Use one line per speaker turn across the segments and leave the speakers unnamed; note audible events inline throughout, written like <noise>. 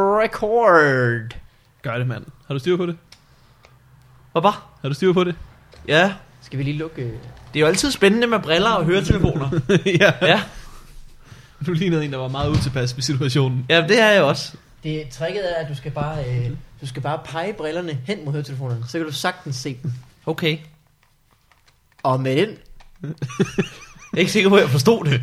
record.
Gør det, mand. Har du styr på det?
Hvad bare?
Har du styr på det? <laughs>
Ja,
Skal vi lige lukke? øh?
det er jo altid spændende med briller og høretelefoner.
ja.
<laughs> ja,
Du lignede en, der var meget utilpas med situationen.
ja, det er jeg også.
Det tricket er, at du skal bare, øh, du skal bare pege brillerne hen mod høretelefonerne, så kan du sagtens se dem.
Okay.
Og med
<laughs>
den,
Jeg er ikke sikker på, at jeg forstod <laughs> det.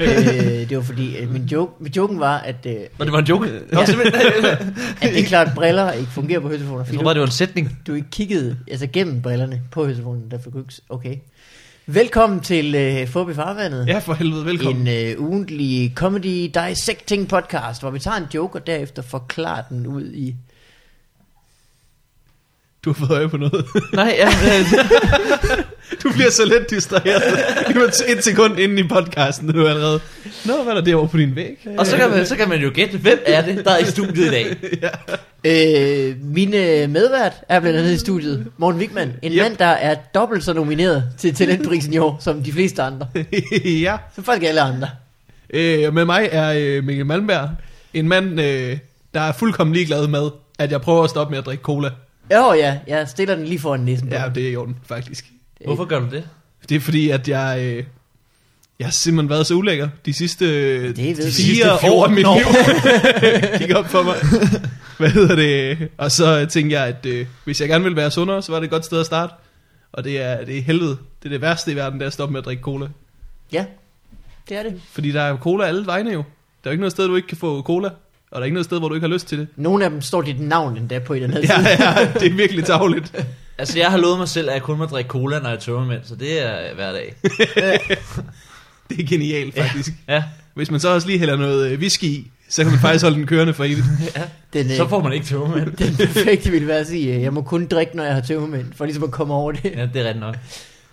øh, det var fordi, øh, min joke, min joken var, at, øh,
Nå, det var en joke. Nå, simpelthen.
<laughs> at det er klart, at briller ikke fungerer på høretelefoner.
Jeg
fordi
tror bare, det var en sætning.
Du ikke kiggede altså gennem brillerne på høretelefonen, derfor kunne du ikke... Okay. Velkommen til øh, Fobi Farvandet.
Ja, for helvede. Velkommen.
En øh, ugentlig comedy dissecting podcast, hvor vi tager en joke og derefter forklarer den ud i...
Du har fået øje på noget. <laughs>
Nej, <laughs> ja, øh,
Du bliver så let
<laughs>
distraheret. Det var et sekund inden i podcasten, du er allerede. Nå, hvad er der derovre på din væg?
og så kan, man, så kan man jo gætte, hvem er det, der er i studiet i dag.
Øh, min øh, medvært er blandt andet i studiet, Morten Wigman. En
Yep.
yep. mand, der er dobbelt så nomineret til talentprisen i år, som de fleste andre.
<laughs> ja.
Som folk alle andre.
Øh, og med mig er øh, Mikkel Malmberg. En mand, øh, der er fuldkommen ligeglad med, at jeg prøver at stoppe med at drikke cola.
Jo oh, ja, jeg stiller den lige foran næsen. på
Ja,
dig.
det er i orden, faktisk.
Hvorfor gør du det?
Det er fordi, at jeg... Øh, jeg har simpelthen været så ulækker de sidste øh,
Det ved vi.
de
De sidste
fire år af mit
14 år.
liv. <laughs> Gik op for mig. Hvad hedder det? Og så tænkte jeg, at øh, hvis jeg gerne ville være sundere, så var det et godt sted at starte. Og det er, det er helvede. Det er det værste i verden, det er at stoppe med at drikke cola.
Ja, det er det.
Fordi der er jo cola alle vegne jo. Der er jo ikke noget sted, du ikke kan få cola. Og der er ikke noget sted, hvor du ikke har lyst til det.
Nogle af dem står dit navn endda på i den her
Ja,
side.
ja det er virkelig tavligt.
Altså, jeg har lovet mig selv, at jeg kun må drikke cola, når jeg tømmer mænd, så det er hver dag.
Det er genialt, faktisk.
<laughs> Ja,
Hvis man så også lige hælder noget øh, whisky i, så kan man faktisk holde den kørende for evigt.
Den, øh,
så får man ikke tømmer mænd.
Den perfekte ville være at sige, øh, jeg må kun drikke, når jeg har tømmermænd, for ligesom at komme over det.
Ja, det er rigtigt nok.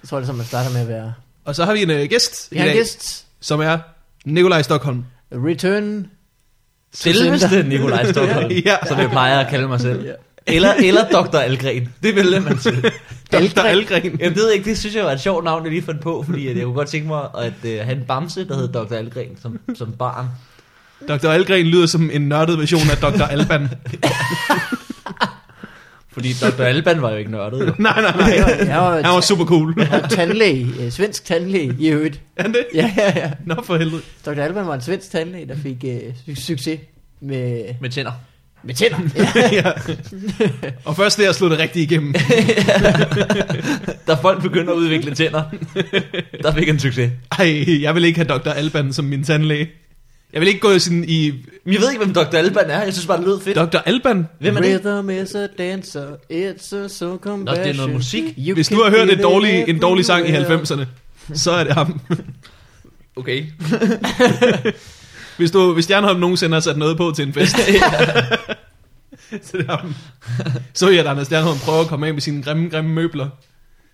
Jeg tror, det er sådan, man starter med at være.
Og så har vi en øh, gæst
Vi
i
har en
dag,
gæst.
som er Nikolaj Stockholm.
Return.
Selveste Nikolaj <laughs> Stockholm,
Ja.
som jeg plejer at kalde mig selv. Eller, <laughs> eller Dr. Algren. Det vil det, man sige.
Dr.
Algren.
Algren.
Jamen, det ved jeg ikke, det synes jeg var et sjovt navn, jeg lige fandt på, fordi at jeg kunne godt tænke mig at øh, have en bamse, der hed Dr. Algren som, som barn.
Dr. Algren lyder som en nørdet version af Dr. Alban.
Fordi Dr. Alban var jo ikke nørdet, jo.
nej, nej, nej.
Jeg var,
Han var super cool.
jeg var tandlæge, øh, svensk tandlæge i øvrigt.
Er han det?
Ja, ja, ja.
Nå for helvede.
Dr. Alban var en svensk tandlæge, der fik øh, su- succes med,
Med tænder.
med tænder.
ja. Og først der slog det rigtigt igennem.
Da folk begyndte at udvikle tænder, der fik han succes.
Ej, jeg vil ikke have Dr. Alban som min tandlæge. Jeg vil ikke gå sådan i...
Men jeg ved ikke, hvem Dr. Alban er. Jeg synes bare, det lød fedt.
Dr. Alban?
Hvem er det?
Rhythm is a dancer, it's a so
Nå, det er noget musik.
You
Hvis
can
du har hørt
feel
et
it
dårlig, en dårlig sang i
everywhere.
90'erne, så er det ham.
Okay.
Hvis, du, hvis Stjernholm nogensinde har sat noget på til en fest, så er det ham. Så jeg, at Anders Stjernholm prøver at komme af med sine grimme, grimme møbler.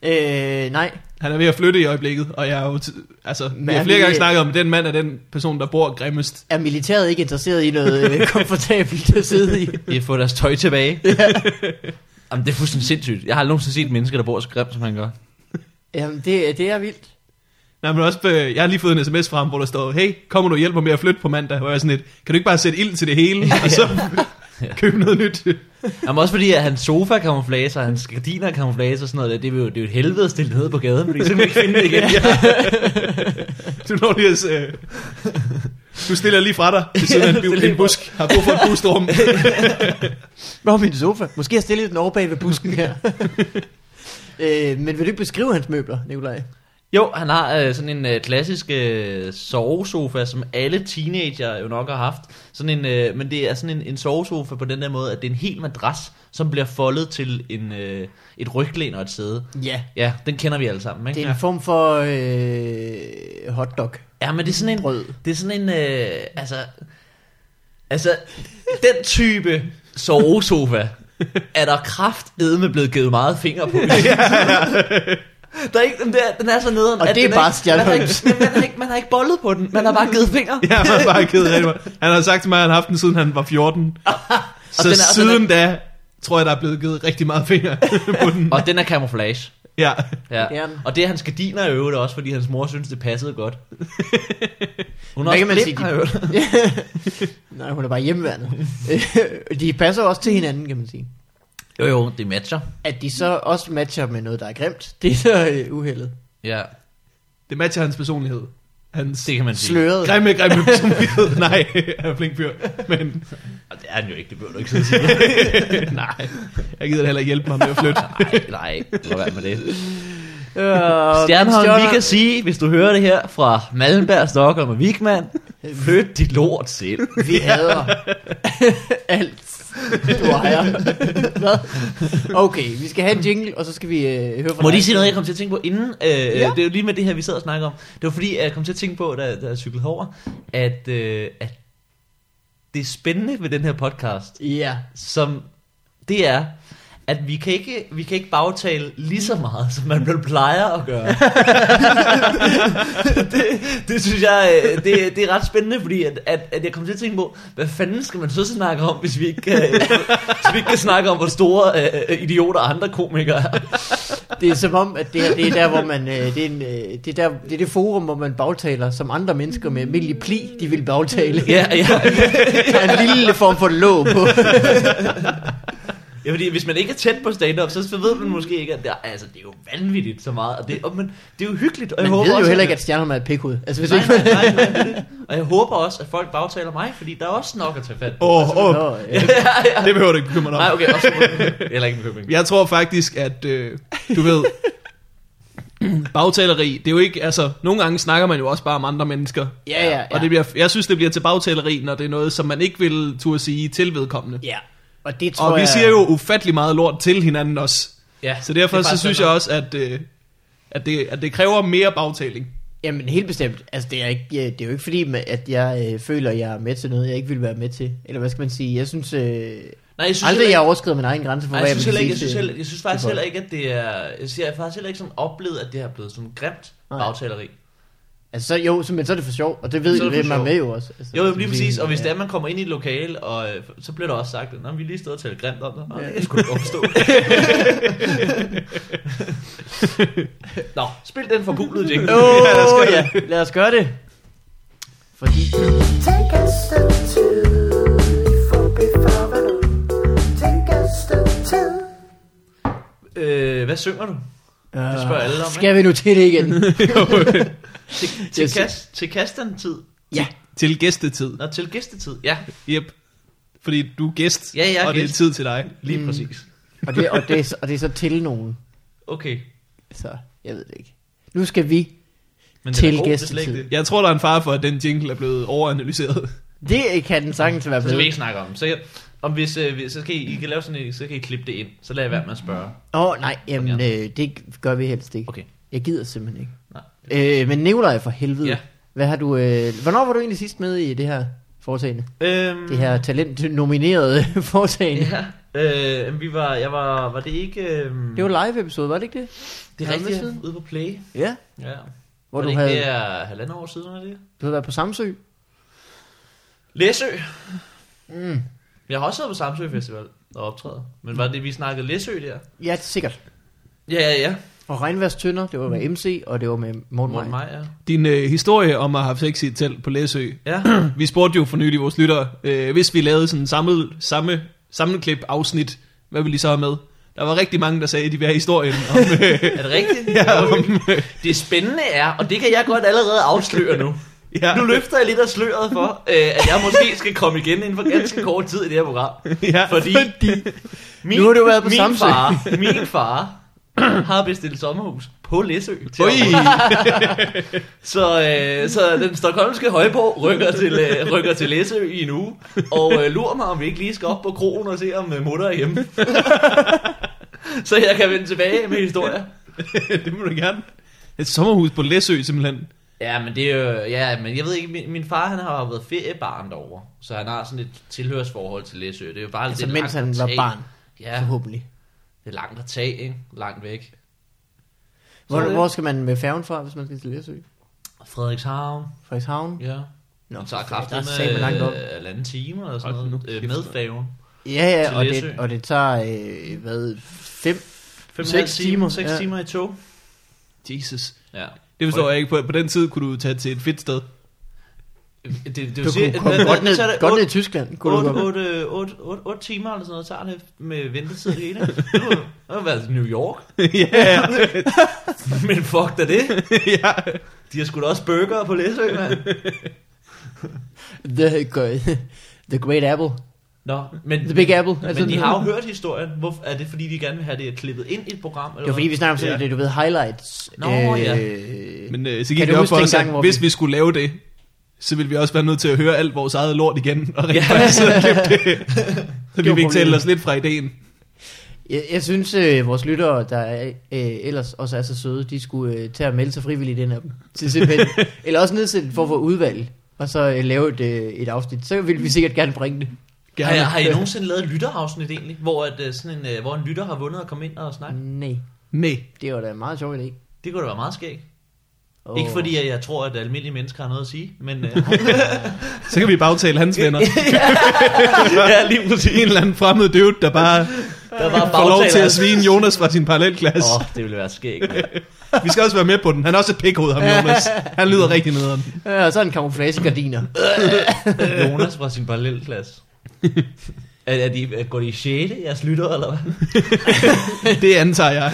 Øh, nej.
Han er ved at flytte i øjeblikket, og jeg har jo t- altså, vi har
er
flere
vi-
gange snakket om, at den mand er den person, der bor grimmest.
Er militæret ikke interesseret i noget øh, komfortabelt at sidde i?
De har fået deres tøj tilbage. Jamen, det er fuldstændig sindssygt. Jeg har aldrig nogensinde set mennesker, der bor så grimt, som han gør.
Jamen, det, det er vildt.
Nej, men også, øh, jeg har lige fået en sms fra ham, hvor der står, hey, kommer du og hjælper med at flytte på mandag? Hvor jeg er sådan lidt, kan du ikke bare sætte ild til det hele, og så købe noget nyt?
Jamen, også fordi, at hans sofa kamuflager, og hans gardiner kamuflager og sådan noget. der. Det er jo, det er jo et helvede at stille det nede på gaden, fordi så kan vi ikke finde det
<laughs>
igen.
Du når lige at, øh, du stiller lige fra dig ved siden af en, bu- en busk, har brug for et
<laughs>
bustrum.
Nå, min sofa. Måske har jeg stillet den over bag ved busken her. <laughs> øh, men vil du ikke beskrive hans møbler, Nikolaj?
Jo, han har øh, sådan en øh, klassisk øh, sovesofa, som alle teenager jo nok har haft. Sådan en, øh, men det er sådan en, en sovesofa på den der måde, at det er en hel madras, som bliver foldet til en, øh, et ryglæn og et sæde.
Ja.
Ja, den kender vi alle sammen, ikke?
Det er en form for øh, hotdog.
Ja, men det er sådan en...
Brød.
Det er sådan en... Øh, altså... Altså, den type sovesofa er der kraftedme blevet givet meget
<laughs>
finger på. Der er ikke, den, der, den er så nederen.
Og
at
det er
den
bare
ikke, man, har
Stjernholms.
ikke, man, man, har ikke, man har ikke bollet på den, man har bare givet fingre.
Ja, han er bare ked af det. Han har sagt til mig, at han har haft den, siden han var 14. Så
den er- og
siden da, tror jeg, der er blevet givet rigtig meget finger <laughs> på den.
Og den er camouflage.
Ja.
Ja.
Gerne.
Og det er hans gardiner i øvrigt også, fordi hans mor synes, det passede
<laughs>
godt. Hun er
Hvad
også
kan man
blind,
sige, de-
har jeg hørt.
<laughs> Nej, hun er bare hjemmeværende. Øh, de passer også til hinanden, kan man sige.
Jo jo, det matcher.
At de så også matcher med noget, der er grimt, <laughs> det er så øh, uheldet.
Ja,
Det matcher hans personlighed. Hans
det kan man sige.
Sløret.
grimme, grimme personlighed. Nej, han er flink fyr. Men
Og det er han jo ikke, det behøver du ikke sådan sige.
<laughs> nej, jeg gider da heller ikke hjælpe mig med at flytte.
nej, nej, lad være med det. <laughs>
Øh,
Stjernholm, vi
stjerner-
kan sige, hvis du hører det her fra Malmberg, Stockholm og Wigman, flyt dit lort selv.
Vi hader <laughs> alt, du ejer. <laughs> Hvad? Okay, vi skal have en jingle, og så skal vi øh, høre
Må
fra
jeg
dig.
lige sige noget, jeg kom til at tænke på inden? Øh, ja.
Ja.
Det er jo lige med det her, vi sad og snakkede om. Det var fordi, jeg kom til at tænke på, da, da jeg cyklede over, at, øh, at det er spændende ved den her podcast,
Ja,
som det er, at vi kan ikke, vi kan ikke bagtale lige så meget, som man vel plejer at gøre. <laughs> det, det synes jeg, øh, det, det er ret spændende, fordi at, at, at jeg kom til at tænke på, hvad fanden skal man så snakke om, hvis vi ikke kan, hvis vi ikke kan snakke om, hvor store øh, idioter andre komikere er.
det er som om, at det, her, det er der, hvor man, øh, det, er en, øh, det, er der, det er det forum, hvor man bagtaler, som andre mennesker med almindelig pli, de vil bagtale.
Ja, ja.
Der er en lille form for låg på.
<laughs> ja fordi hvis man ikke er tæt på stand-up, så så ved man måske ikke, at det er, altså, det er jo vanvittigt så meget. Og det, og, men det er jo hyggeligt. Og jeg
Man
håber
ved jo
også,
heller ikke, at Stjernholm er et pikhud. Altså, hvis
Nej,
ikke
nej, nej, nej, det er det. Og jeg håber også, at folk bagtaler mig, fordi der er også nok at tage fat på.
Åh, oh, oh,
Nå, ja.
<laughs> ja, ja.
det behøver du ikke bekymre dig
Nej,
om.
okay, også Eller ikke en bekymring.
Jeg tror faktisk, at øh, du ved, bagtaleri, det er jo ikke, altså, nogle gange snakker man jo også bare om andre mennesker.
Ja, ja, ja.
Og det bliver, jeg synes, det bliver til bagtaleri, når det er noget, som man ikke vil turde sige til vedkommende.
Ja, og det tror
Og vi
jeg...
siger jo ufattelig meget lort til hinanden også.
Ja,
Så derfor
det er
så
faktisk
synes
sådan
jeg også, at, øh, at, det, at det kræver mere bagtaling. <laughs>
Jamen helt bestemt. Altså det er, ikke, ja, det er jo ikke fordi, ma- at jeg øh, føler, at jeg er med til noget, jeg ikke vil være med til. Eller hvad skal man sige? Jeg synes, øh,
noget. Nej, jeg synes
aldrig
heller
jeg
ikke-
overskrider min egen grænse for,
Nej,
hvad
jeg
jeg
synes
vil
heller ikke,
sige
jeg synes,
til-
heller, jeg synes faktisk
til
heller
folk.
ikke, at det er... Jeg siger, jeg har faktisk heller ikke sådan oplevet, at det har blevet sådan grimt
Nej.
bagtaleri.
Altså så, jo, så, men så er det for sjov, og det ved
Så er
jo
det for
hvem er
sjov.
med jo også. Altså,
Jo, jo, lige præcis. Og hvis
ja.
det er, man kommer ind i et lokale, og øh, så bliver der også sagt, at vi er lige stået og talt grimt om dig. Nå,
Ja.
det skulle du godt
<laughs>
forstå. Nå, spil den forpulede jingle.
Åh, ja, lad os gøre det. Fordi...
Take a step two, for before Take a step two.
Øh, hvad synger du? Det spørger alle om,
Skal vi nu til det
<laughs>
igen?
Til, til,
Jeg sy-
kast, til kasten-tid.
ja.
til gæstetid.
Nå, til gæstetid. Ja,
Yep. Fordi du er gæst,
Ja, jeg er
og det er
gæst.
tid til dig.
lige mm. præcis.
Og det, og, det, er så- og det er så til nogen.
Okay.
Så jeg ved det ikke. Nu skal vi
Men
Til
den er god, det er
gæstetid.
slet ikke det.
Jeg tror, der er en far for, at den jingle er blevet overanalyseret.
Det kan den sagtens være
Så skal Altså, vi
blevet.
ikke snakke om. det. Så, jeg, om hvis, øh, hvis- så skal I, I kan lave sådan en, så kan I klippe det ind. Så lad jeg være med at spørge.
Åh, oh, nej, jamen, øh, det gør vi helst ikke.
Okay.
Jeg gider simpelthen ikke.
Nej.
Øh, men Nikolaj for helvede.
Ja.
Ja. Hvad har du, øh, hvornår var du egentlig sidst med i det her foretagende?
Øhm,
Det her talent-nominerede <laughs> foretagende? Ja.
Ja. Øh, men vi var, jeg var, var det ikke... Øhm,
Det var live-episode, var det ikke det?
det er
halvandet
rigtigt,
siden.
ude på Play.
Ja.
Ja.
Hvor
var det
du
ikke
havde-
det er halvandet år siden, er det?
Du havde været på Samsø?
Læsø. Mm. Jeg har også været på Samsø Festival og optræde. Men var det, vi snakkede Læsø der?
Ja, sikkert.
Ja, ja, ja.
Og Regnværstønder, det var med MC, og det var med Morten,
Mm. Morten
Morten Maj.
Maj, ja.
Din øh, historie om at have haft sex i et telt på
<clears throat>
Læsø.
Ja,
Vi spurgte jo for nylig vores lyttere, øh, hvis vi lavede sådan samlet, samme sammenklip afsnit, hvad ville de så have med? Der var rigtig mange, der sagde, at de ville have
<laughs>
historien om, øh,
er det rigtigt?
ja, om øh,
Det spændende er, og det kan jeg godt allerede afsløre nu.
ja,
Nu løfter jeg lidt af sløret for, øh, at jeg måske skal komme igen inden for ganske kort tid i det her program.
ja,
Fordi, min,
Nu har du været på
min
Samsø.
far, <laughs> min far <clears throat> har bestilt sommerhus på Læsø. til
Ui,
os.
<laughs>
Så, øh, så den stokholmske højborg rykker til, øh, rykker til Læsø i en uge, og øh, lurer mig, om vi ikke lige skal op på krogen og se, om øh, mutter er
<laughs>
hjemme. <laughs> så jeg kan vende tilbage med historier.
<laughs> det må du gerne. Et sommerhus på Læsø simpelthen.
Ja, men det er jo, ja, men jeg ved ikke, min, min far han har jo været feriebarn derovre, så han har sådan et tilhørsforhold til Læsø. Det er jo bare
Altså,
det er
mens
langt
han
at
var
tage.
barn, ja.
Ja,
forhåbentlig.
det er langt at tage, ikke? Langt væk.
Hvor,
Så-
hvor skal man med færgen fra, hvis man skal til Læsø?
Frederikshavn,
Frederikshavn?
ja. Nå,
Nå,
så er
for fanden,
kraften
der sagde man langt op.
med øh, halvanden time eller sådan
Hold nu
noget. Øh,
kæft,
med
mand.
færgen.
Ja,
til
ja, og
Læsø.
det, og det tager, øh, hvad, fem
5
Seks timer,
6
ja.
timer i tog.
Jesus.
Ja.
Det forstår jeg ikke på. På den tid kunne du tage til et fedt sted.
Det, det, det
Du kunne komme godt ned, godt ned i Tyskland. Kunne du
8,
komme.
8, 8, 8, 8 timer eller sådan noget, tager det med ventetid det hele. Det var- Det har været New York,
<laughs>
ja,
<laughs> men fuck da det.
ja.
De har sgu da også burger på Læsø, mand.
The, the Great Apple.
Nå, men,
The Big Apple. altså
men de har jo hørt historien. Hvorfor, er det fordi, de gerne vil have det klippet ind i et program? Eller
Det var fordi, vi snakker om sådan
Ja.
ja. det, du ved, highlights.
Nå, ja.
Men øh, så
Kan
gik
du
det op
huske
for os,
dengang, hvor
at hvis
vi-
vi skulle lave det, så ville vi også være nødt til at høre alt vores eget lort igen. Og
Ja.
rent faktisk sidde og klippe
<laughs>
det. Så vi
var
fik talt
problemet.
os lidt fra ideen.
Jeg, jeg synes, øh, vores lyttere, der er, øh, ellers også er så søde, de skulle øh, tage og melde sig frivilligt ind af dem. Til simpelthen.
<laughs>
Eller også nedsætte for at få udvalg, og så øh, lave et, øh, et afsnit. Så ville vi sikkert gerne bringe det.
Har, I- har I nogensinde lavet et lytterafsnit egentlig? Hvor, at, øh, sådan en, øh, hvor en lytter har vundet og kommet ind og snakket?
Nej,
Nej.
det var da en meget sjovt, idé.
Det kunne da være meget skægt.
Og-
Ikke fordi, at jeg tror, at almindelige mennesker har noget at sige, men...
<laughs>
Øh,
Så kan vi bagtale hans venner.
ja, lige
en eller anden fremmed død, der bare
Der var
får lov til
bagtaler.
at svine Jonas fra sin parallelklasse.
Åh, oh, det ville være skægt. mand.
Vi skal også være med på den. Han er også et pikhoved, ham Jonas. Han lyder rigtig nederen.
Øh, og så en camouflagegardiner.
Jonas fra sin parallelklasse. Er, er de, er- går de i 6. jeres lytter, eller hvad?
Det antager jeg.
<laughs>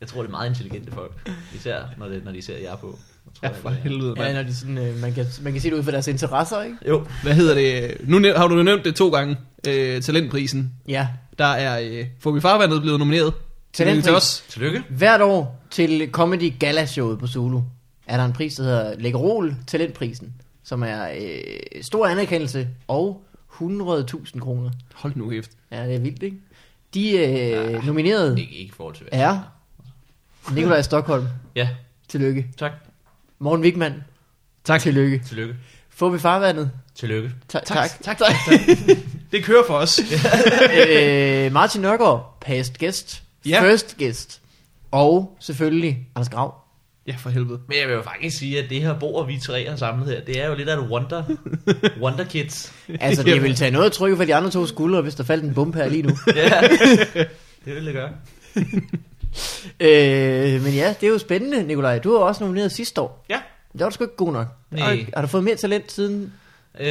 Jeg tror, det er meget intelligente folk. Især, når, det, når de ser jer på. Jeg tror,
Ja,
jeg,
for
det er-
helvede,
ja,
mand.
når de sådan, øh, man, kan, man kan se det ud fra deres interesser, ikke?
Jo,
Hvad hedder det? Nu næv- har du nævnt det to gange. Øh, talentprisen.
Ja.
Der er øh, Fobi Farvandet blevet nomineret.
Talentpris.
Til os.
tillykke.
Hvert år til Comedy Gala Showet på Zulu er der en pris, der hedder Lækkerol Talentprisen, som er øh, stor anerkendelse og 100.000 kroner.
Hold nu kæft.
Ja, det er vildt, ikke? De øh, nominerede
Ikke, ikke i forhold til hvad.
er Nikolaj Stockholm,
Ja,
tillykke.
tak.
Morten Wigman, tak. Tillykke.
Tillykke.
Fobi Farvandet,
Tillykke.
tak.
Tak, tak,
tak.
tak. Det kører for <laughs> os.
øh, Martin Nørgaard, past guest,
Ja.
first guest, og selvfølgelig Anders Grav.
Ja, for helvede.
Men jeg vil jo faktisk sige, at det her bord, vi tre har samlet her, det er jo lidt af et wonder, wonder kids.
Altså, det ville tage noget at trykke for de andre to skuldre, hvis der faldt en bombe her lige nu.
Ja, <laughs> det vil det gøre.
øh, men ja, det er jo spændende, Nikolaj. Du var også nomineret sidste år.
Ja.
Det var du sgu ikke god nok.
Nej.
Har, har du fået mere talent siden?
Øh,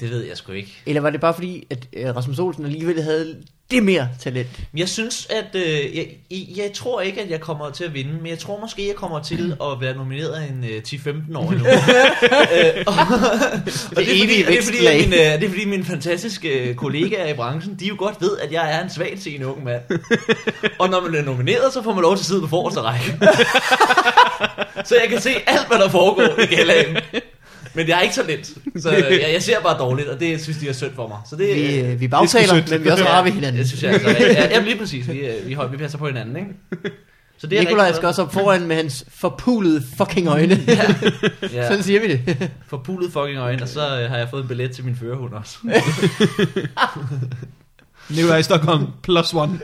det ved jeg sgu ikke.
Eller var det bare fordi, at øh, Rasmus Olsen alligevel havde det mere talent?
Men Jeg synes, at øh, jeg, jeg, jeg tror ikke, at jeg kommer til at vinde, men jeg tror måske, jeg kommer til at være nomineret af en øh, 10-15 år endnu. øh, og, og det, er fordi,
evige
og det, er fordi,
vækstlag.
at min, øh, det er fordi mine fantastiske øh, kollegaer i branchen, de jo godt ved, at jeg er en svagt en ung mand. og når man bliver nomineret, så får man lov til at sidde på forreste række. så jeg kan se alt, hvad der foregår i galaen. Men jeg er ikke talent, så øh, jeg, jeg ser bare dårligt, og det synes de er synd for mig. Så det,
Vi,
øh,
det
øh, vi
er sgu
bagtaler,
sødt.
men vi er også rare ved hinanden.
det synes jeg altså. Ja, jamen lige præcis. Vi, øh, vi, hold, vi passer på hinanden, ikke? Så det er jeg
Nikolaj
rigtig
skal
glad
også op foran med hans forpulede fucking øjne. <laughs>
for.
Sådan
Ja,
siger vi det.
forpulet fucking øjne, og så øh, har jeg fået en billet til min førerhund
<laughs>
også.
Nikolaj Stockholm, plus one.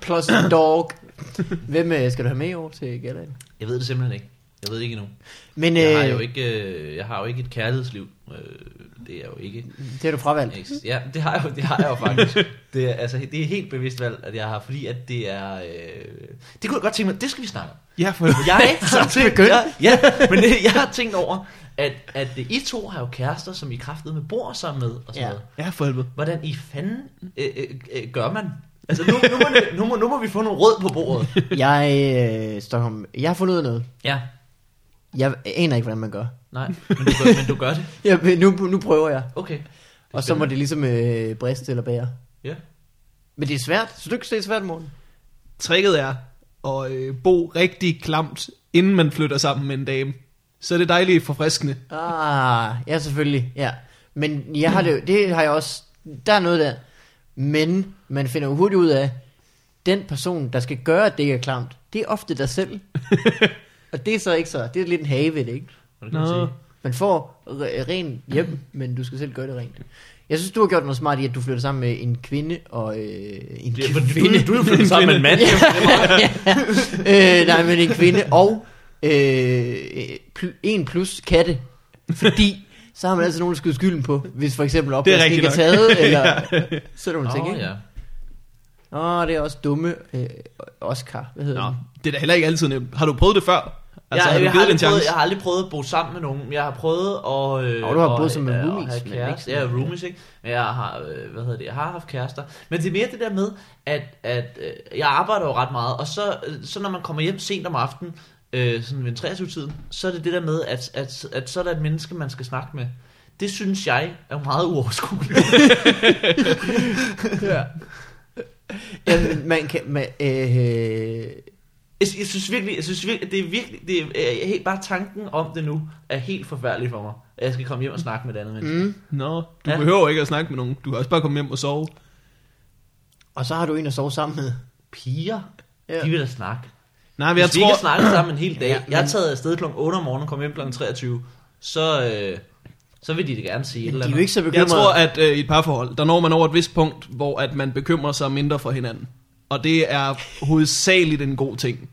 Plus dog. Hvem øh, skal du have med i år til galaen?
Jeg ved det simpelthen ikke. Jeg ved det ikke endnu.
Men
Jeg har jo
øh,
ikke, øh, jeg har jo ikke et kærlighedsliv. Øh, det er jo ikke...
det har du fravalgt.
eks- Ja, det har jeg jo, det har jeg jo
<laughs>
faktisk. Det er, altså, det er helt bevidst valg, at jeg har, fordi at det er... Øh, det kunne jeg godt tænke mig, det skal vi snakke om.
Ja, for helvede.
Jeg <laughs> har tænkt,
begyndt.
jeg, ja, men det, jeg har tænkt over, at, at øh, I to har jo kærester, som I kraftede med bor sammen med. Og sådan
Ja.
noget.
Ja, for helvede.
hvordan i fanden øh, øh, øh, gør man? Altså nu, nu, må, det- nu, må, nu må vi få nogle råd på bordet.
Jeg, øh, Stockholm, jeg har fundet ud af noget.
<laughs> Ja,
Jeg aner ikke, hvordan man gør.
nej, men du gør, men du gør det.
Ja, nu, nu prøver jeg.
Okay.
Og så må det ligesom øh, briste eller bære.
Ja.
Men det er svært. Så du ikke det er svært, morgen.
Tricket er at øh, bo rigtig klamt, inden man flytter sammen med en dame. Så er det dejligt forfriskende.
Ah, ja selvfølgelig, ja. Men jeg har det, jo- det har jeg også, der er noget der. Men man finder jo hurtigt ud af, den person, der skal gøre, at det ikke er klamt, det er ofte dig
<laughs>
selv. Og det er så ikke så, det er lidt en have ved det, ikke?
Hvad kan man
Nå.
sige?
Man får re- rent hjem, men du skal selv gøre det rent. Jeg synes, du har gjort noget smart i, at du flytter sammen med en kvinde og øh, en
Det er,
kvinde.
fordi du, du er jo flyttet sammen med en mand.
<laughs> øh, nej, men en kvinde og øh, pl- en plus katte. Fordi altså så har man altid nogen at skyde skylden på, hvis for eksempel
Det er <laughs>
opvasken ikke er
rigtigt
taget, eller sådan nogle ting.
Åh,
ikke?
ja.
Åh, det er også dumme øh, Oscar, hvad hedder
Nå,
den?
Øhm, det er da heller ikke altid nemt. Har du prøvet det før? Altså,
jeg,
har du
jeg,
givet
har aldrig prøvet,
det en chance?
jeg har aldrig prøvet at bo sammen med nogen. Jeg har prøvet at... Øh,
Nå, du har
at-
boet sammen med
øh, at
roomies,
have
men
kæreste.
ikke
Ja,
sådan-
roomies, ikke? Men jeg har, øh, hvad hedder det, jeg har haft kærester. Men det er mere det der med, at, at øh, jeg arbejder jo ret meget, og så, øh, så når man kommer hjem sent om aftenen, øh, sådan ved 23-tiden, så er det det der med, at, at, at så er der et menneske, man skal snakke med. Det synes jeg er meget
<laughs>
uoverskueligt.
Jamen, man kan... Man, øh,
Jeg, jeg synes virkelig, jeg synes virkelig, det er virkelig, det er, jeg, helt, bare tanken om det nu er helt forfærdelig for mig. At jeg skal komme hjem og snakke med et andet menneske.
mm.
Nå, du
Ja.
ja. behøver ikke at snakke med nogen. Du kan også bare komme hjem og sove.
Og så har du en at sove sammen med.
Piger,
Ja.
de vil da snakke.
Nej, men
Hvis
jeg
vi ikke
tror...
har snakket sammen en hel dag,
Ja,
ja,
men-
jeg er taget afsted kl. 8 om morgenen og kom hjem kl. 23, så, øh, så vil de det gerne sige et
Men
eller
de er
andet.
jo ikke så
Jeg
bekymrede.
tror, at øh, i et parforhold, der når man over et vist punkt, hvor at man bekymrer sig mindre for hinanden. Og det er hovedsageligt en god ting.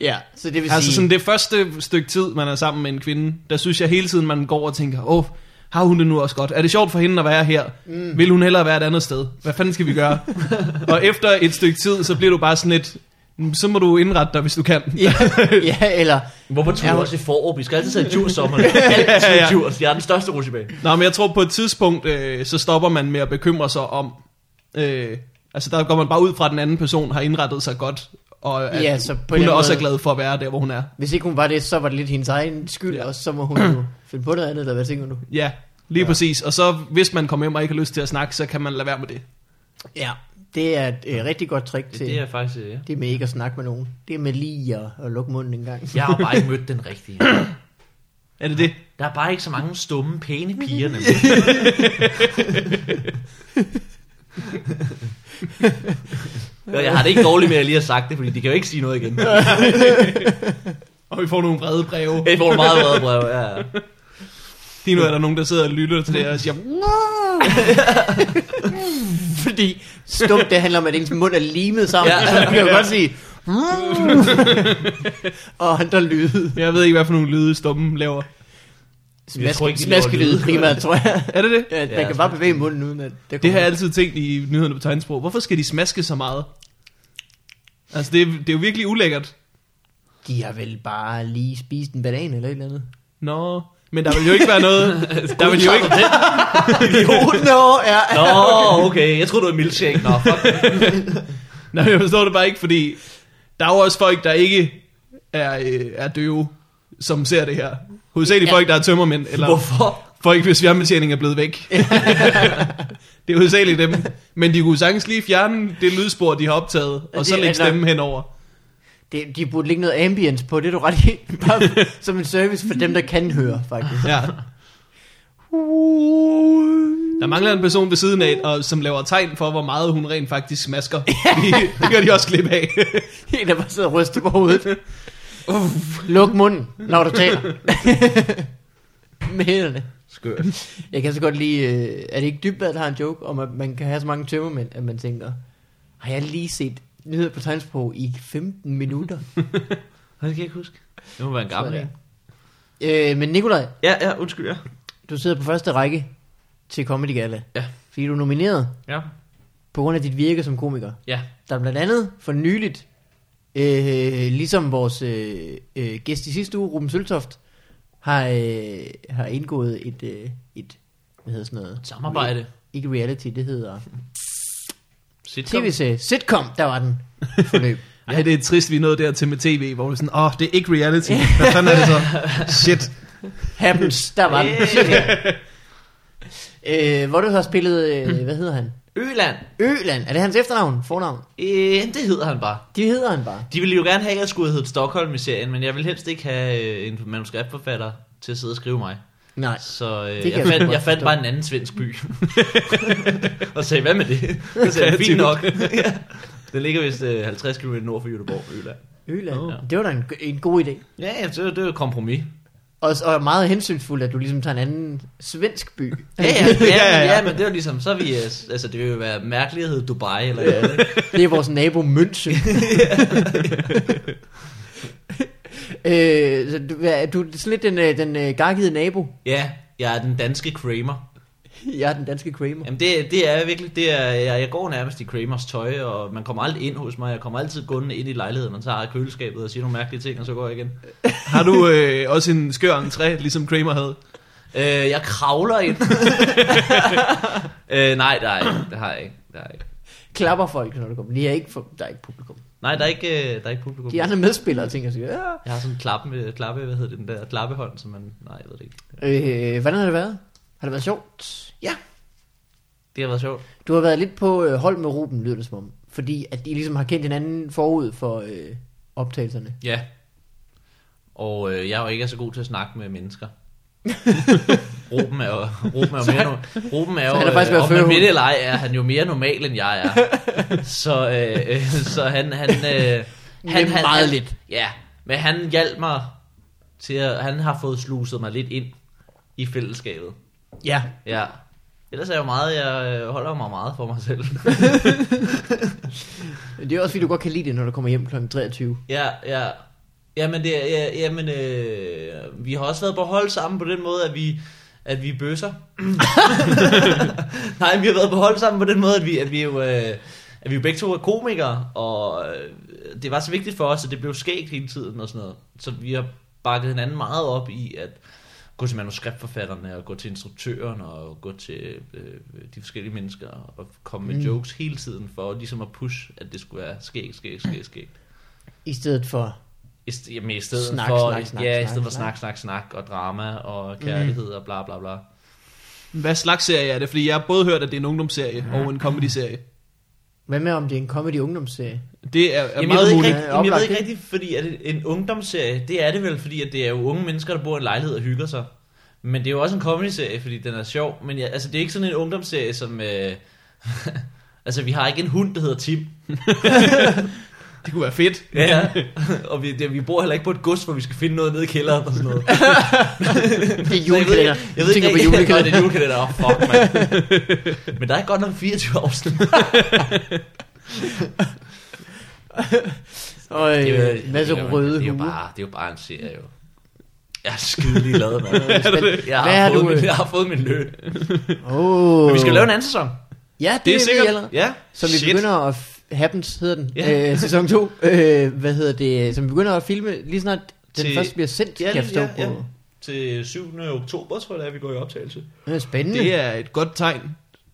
Ja, så det vil
Altså
sige...
sådan det første stykke tid, man er sammen med en kvinde, der synes jeg hele tiden, man går og tænker, åh, oh, har hun det nu også godt? Er det sjovt for hende at være her? Mm. Vil hun hellere være et andet sted? Hvad fanden skal vi gøre? <laughs> og efter et stykke tid, så bliver du bare sådan lidt, "Mm, så må du indrette dig, hvis du kan.
<laughs> Ja, ja, eller...
Hvorfor
Ja,
tog du
hun-
også i forår? Vi skal altid tage djurs
<laughs>
sommeren. Altid
ja.
djurs. Jeg er den største rutsjebane.
Nå, men jeg tror på et tidspunkt, øh, så stopper man med at bekymre sig om, øh, altså der går man bare ud fra, at den anden person har indrettet sig godt, og at
Ja, så på
hun
den
er også
måde-
er glad for at være der, hvor hun er.
Hvis ikke hun var det, så var det lidt hendes egen skyld,
Ja.
ja. og så må hun
<clears throat>
jo finde på noget andet, eller hvad tænker du?
Ja, lige ja. præcis. Og så hvis man kommer hjem og ikke har lyst til at snakke, så kan man lade være med det.
Ja, det er et øh, rigtig godt trick til...
Det er faktisk... øh, Ja.
Det er med ikke at snakke med nogen. Det er med lige at, at lukke munden en gang.
Jeg har bare ikke mødt den rigtige.
Er det det?
Der er bare ikke så mange stumme, pæne piger. nemlig. <laughs> Og jeg har det ikke dårligt med, at jeg lige har sagt det, fordi de kan jo ikke sige noget igen.
Og vi får nogle vrede breve.
Jeg får meget vrede brev, ja. ja.
Lige nu er der nogen, der sidder og lytter til det her og siger, "Mm."
<laughs> Fordi stumt, det handler om, at ens mund er limet sammen.
Ja.
Ja. Så man kan jo godt
<laughs>
sige... og andre lyde.
jeg ved ikke, hvad for nogle lyde stummen laver.
Jeg tror
Smaske,
ikke, de laver
smaske lyde
lyde.
primært, tror jeg.
Er det det?
Ja,
Ja,
man
jeg
kan
tror
bare bevæge munden uden at... Der
Det
kommer-
har jeg altid tænkt i nyhederne på tegnsprog. Hvorfor skal de smaske så meget? Altså, det er, det er jo virkelig ulækkert.
De har vel bare lige spist en banan eller et eller
<laughs>
andet.
Nå, men der vil jo ikke være noget... der vil jo ikke...
Jo, no, ja.
Nå, okay. Jeg troede, du var milkshake. Nå, <laughs> fuck.
Nej, jeg forstår det bare ikke, fordi... Der er jo også folk, der ikke er, øh, er døve, som ser det her. Hovedsageligt
Ja.
ja. folk, der er tømmermænd, eller
Hvorfor?
folk, hvis fjernbetjening er blevet væk. det er hovedsageligt dem. Men de kunne sagtens lige fjerne det lydspor, de har optaget, og så
Det er
lægge
nok-
stemmen henover.
Det, de burde lægge noget ambience på, det er du ret i.
<laughs>
Bare som en service for dem, der kan høre, faktisk.
Ja. Der mangler en person ved siden af, og som laver tegn for, hvor meget hun rent faktisk smasker. Det- <laughs> det gør de også klip af.
En, der bare sidder og ryster på hovedet. Uff, luk munden, når du taler. Med hænderne.
Skørt.
Jeg kan så godt lide, øh, er det ikke Dybvad, der har en joke om, at man kan have så mange tømmermænd, at man tænker, har jeg lige set nyheder på tegnsprog i 15 minutter?
Det kan jeg ikke huske. Det må være en gammel
Sådan.
en.
øh, men Nikolaj,
Ja, ja, undskyld, ja.
du sidder på første række til Comedy Gala.
Ja.
Fordi du er nomineret
Ja,
på grund af dit virke som komiker.
ja.
Der er blandt andet for nyligt, øh, ligesom vores øh, øh, gæst i sidste uge, Ruben Søltoft, har, øh, har indgået et, øh, et, hvad hedder sådan noget?
Samarbejde.
Ikke reality, det hedder
Sitcom.
tv-serie. Sitcom, der var
<laughs>
den forløb.
Ej, det er trist, vi er nået dertil med tv, hvor det er sådan, åh, oh, det er ikke reality. Hvad fanden er det så? Shit.
Happens, der var den.
Yeah.
øh, hvor du har spillet,
Hmm.
øh, hvad hedder han?
Øland.
Øland, er det hans efternavn, fornavn?
Øh, det hedder han bare.
Det hedder han bare.
De ville jo gerne have, at jeg skulle hedde Stockholm i serien, men jeg vil helst ikke have øh, en manuskriptforfatter til at sidde og skrive mig.
Nej.
Så øh,
kan
jeg,
jeg
fandt,
godt
jeg fandt
forstå.
bare en anden svensk by. <laughs> og sagde, hvad med <laughs> det? Det sagde, jeg, fint <laughs> nok. ja. Den ligger vist øh, 50 km nord for Göteborg, Øland.
Øland,
Nå.
det var da en, en god idé.
Ja, ja, det, det er jo et kompromis.
Og, og meget hensynsfuldt, at du ligesom tager en anden svensk by.
Ja, <laughs> ja, ja,
Ja,
ja,
ja, ja.
ja, men det er jo ligesom, så er vi, øh, altså det vil jo være mærkeligt at hedde Dubai eller ja. andet.
Det er vores nabo München. <laughs> øh, så du, hvad er- du er sådan lidt den, øh, den øh, gakkede nabo.
Ja, jeg er den danske Kramer.
Jeg er den danske Kramer.
Jamen det, det er virkelig, det er, jeg, jeg går nærmest i Kramers tøj, og man kommer aldrig ind hos mig. Jeg kommer altid gående ind i lejligheden, og tager køleskabet og siger nogle mærkelige ting, og så går jeg igen.
Har du øh, også en skør entré, ligesom Kramer havde?
Øh, jeg kravler ind. øh, nej, der er ikke, det har jeg ikke. Der er ikke.
Klapper folk, når du kommer. De er ikke for, der er ikke publikum.
Nej, der er ikke, øh, der er ikke publikum.
De andre medspillere tænker sig, ja.
Jeg har sådan en klappe, klappe, hvad hedder det, den der klappehånd, som man, nej, jeg ved det ikke.
Øh, hvordan har det været? Har det været sjovt?
Ja. Det har været sjovt.
Du har været lidt på øh, hold med Ruben, lyder det som om. Fordi at de ligesom har kendt hinanden forud for øh, optagelserne.
Ja. Og øh, jeg er jo ikke så god til at snakke med
<laughs>
mennesker. Ruben er jo, Ruben er jo mere, no, Ruben er jo,
så han har faktisk været
øh, om man
førhund.
ved det eller ej, er han jo mere normal, end jeg
<laughs>
er. så, øh, øh, så han, han, øh, han,
Men
han,
meget
han,
lidt.
Ja, men han hjalp mig til at, han har fået sluset mig lidt ind i fællesskabet.
Ja.
Ja. Ellers er jeg jo meget, jeg øh, holder mig meget for mig selv.
Det er også fordi, du godt kan lide det, når du kommer hjem kl. 23.
Ja, ja. Jamen, det, er- ja, jamen øh, vi har også været på hold sammen på den måde, at vi, at vi er bøsser. <laughs> Nej, vi har været på hold sammen på den måde, at vi, at vi jo... Øh, at vi jo begge to er komikere, og øh, det var så vigtigt for os, at det blev skægt hele tiden og sådan noget. Så vi har bakket hinanden meget op i at gå til manuskriptforfatterne, og gå til instruktøren, og gå til øh, de forskellige mennesker, og komme med mm. jokes hele tiden, for ligesom at pushe, at det skulle være skægt, skægt, skægt, skægt.
I stedet for...
I, st- jamen, i stedet
Snak,
snak, for,
snak, snak,
ja, i
snak,
stedet for
snak.
snak, snak, snak, og drama, og kærlighed, mm. og bla bla bla.
Hvad slags serie er det? Fordi jeg har både hørt, at det er en ungdomsserie og en comedy-serie.
Hvad med om det er en comedy ungdomsserie?
Det er, er
Jamen, jeg, ved
meget
ikke
muligt.
rigtig, jamen, jeg ved
Oplagt,
ikke rigtigt, fordi er det en ungdomsserie, det er det vel, fordi at det er jo unge mennesker, der bor i en lejlighed og hygger sig. Men det er jo også en comedy-serie, fordi den er sjov. Men ja, altså, det er ikke sådan en ungdomsserie, som... Øh, <laughs> altså, vi har ikke en hund, der hedder Tim.
Det kunne være fedt.
Ja. <laughs> og vi, det, vi bor heller ikke på et gods, hvor vi skal finde noget nede i kælderen og sådan
<laughs>
noget.
Det er
Så jeg ved ikke-
julekalender.
Jeg ved ikke, <laughs>
tænker på
rigtig- Nå, det er
<laughs> julekalender.
julekalender. Oh, fuck, mand. <laughs> Men der er godt nok 24 afsnit.
Og
Det er jo-
øh, masser
det er
af
jo-
røde
det er jo
huer.
bare, Det er jo bare en serie, jo. Jeg er skidelig <laughs> lavet, mand. Jeg
Hvad
har,
har
fået
du,
min,
øh?
jeg har fået min løn.
Åh.
Men vi skal lave en anden sæson.
Ja, det,
Det er
ved
sikkert.
jeg allerede.
Ja.
Som vi
Shit.
begynder at... F- Happens hedder den.
Ja.
Øh, sæson 2. Øh, hvad hedder det? Som vi begynder at filme lige snart den
Til-
først bliver sendt, kan jeg forstå på.
Til 7. oktober, tror jeg, at vi går i optagelse.
Det er spændende.
Det er et godt tegn,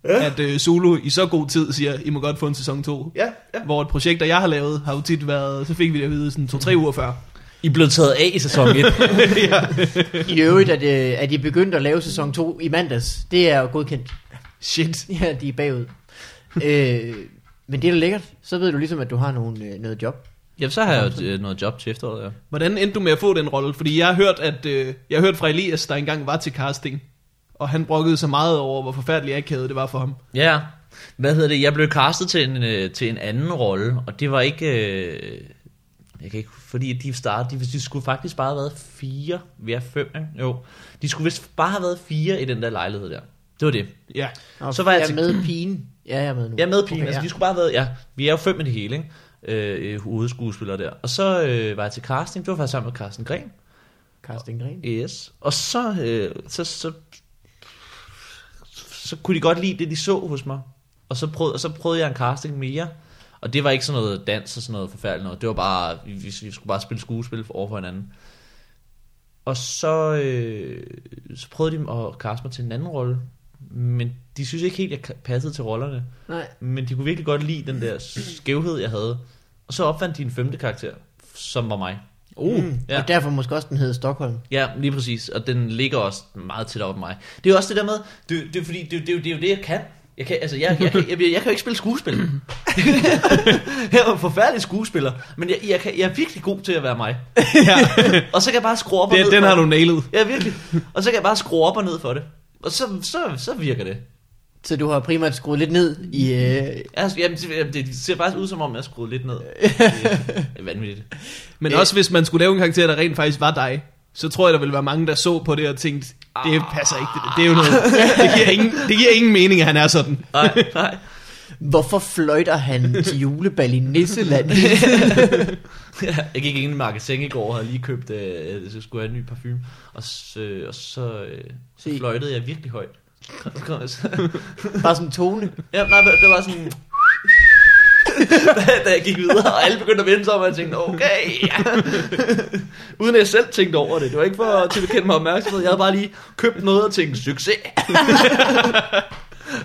at øh, Solo i så god tid siger, I må godt få en sæson 2.
Ja, ja.
Hvor et projekt, der jeg har lavet, har jo tit været, så fik vi det at vide sådan 2-3 uger før.
I blev taget af i sæson <laughs> 1.
I øvrigt, at, øh, at de begyndte at lave sæson 2 i mandags, det er jo godkendt.
Shit.
Ja, de er bagud. øh, men det er da lækkert. Så ved du ligesom, at du har nogle, øh, noget job.
Jamen, så har jeg jo øh, noget job til efteråret, ja.
Hvordan endte du med at få den rolle? Fordi jeg har hørt, at, øh, jeg har hørt fra Elias, der engang var til casting, og han brokkede sig meget over, hvor forfærdelig akavet det var for ham.
Ja, hvad hedder det? Jeg blev castet til en, øh, til en anden rolle, og det var ikke... Øh, jeg kan ikke, fordi de startede, de, de skulle faktisk bare have været fire, vi er fem, ikke? Jo, de skulle vist bare have været fire i den der lejlighed der. Det var det.
<laughs> Ja.
Og
Så var jeg
jeg er
til-
med pigen. Ja, jeg er med nu.
Jeg er med pigen, okay,
Okay,
altså
ja.
de skulle bare have været, ja, vi er jo fem i det hele, ikke? Øh, hovedskuespillere der. Og så øh, var jeg til casting, det var faktisk sammen med Carsten Gren.
Carsten Gren.
Yes. Og så, øh, så, så, så kunne de godt lide det, de så hos mig. Og så prøvede, og så prøvede jeg en casting mere. Og det var ikke sådan noget dans og sådan noget forfærdeligt noget. Det var bare, vi, vi vi skulle bare spille skuespil for- over for hinanden. Og så, øh, så prøvede de at kaste mig til en anden rolle. Men de synes ikke helt, jeg ka- passede til rollerne.
Nej.
Men de kunne virkelig godt lide den der skævhed, jeg havde. Og så opfandt de en femte karakter, som var mig.
Uh, mm.
ja.
Og derfor måske også den hedder Stockholm.
Ja, lige præcis. Og den ligger også meget tæt op på mig. Det er jo også det der med, det, det, er fordi, det, det, er jo- det er jo det, jeg kan. Jeg kan, altså, jeg, jeg, kan- jeg, jeg, jeg kan jo ikke spille skuespil. <laughs> jeg er jo en forfærdelig skuespiller, men jeg, jeg, kan, jeg er virkelig god til at være mig. og så kan jeg bare skrue op og ned.
Den, den
for
har du
det.
nailet.
Ja, virkelig. Og så kan jeg bare skrue op og ned for det. Og så, så, så virker det.
Så du har primært skruet lidt ned i... Øh,
Altså, jamen, det, jamen, det ser faktisk ud som om, jeg er skruet lidt ned. Det er vanvittigt.
Men
Øh.
også hvis man skulle lave en karakter, der rent faktisk var dig, så tror jeg, der ville være mange, der så på det og tænkte, det passer ikke, det, der. det er jo noget, det giver, ingen, det giver ingen mening, at han er sådan.
Nej, nej.
hvorfor fløjter han til julebal i Nisseland? <laughs>
<laughs> jeg gik ind i magasin i går og havde lige købt, øh, så skulle jeg have en ny parfume. Og så, og så, øh, så
Se.
fløjtede jeg virkelig højt.
Bare sådan en tone.
<laughs> ja, nej, men det var sådan... <laughs> da, da jeg gik videre, og alle begyndte at vende sig om, og jeg tænkte, okay, <laughs> ja. Uden at jeg selv tænkte over det. Det var ikke for at tilkende mig opmærksomhed. Jeg havde bare lige købt noget og tænkt, succes. <laughs>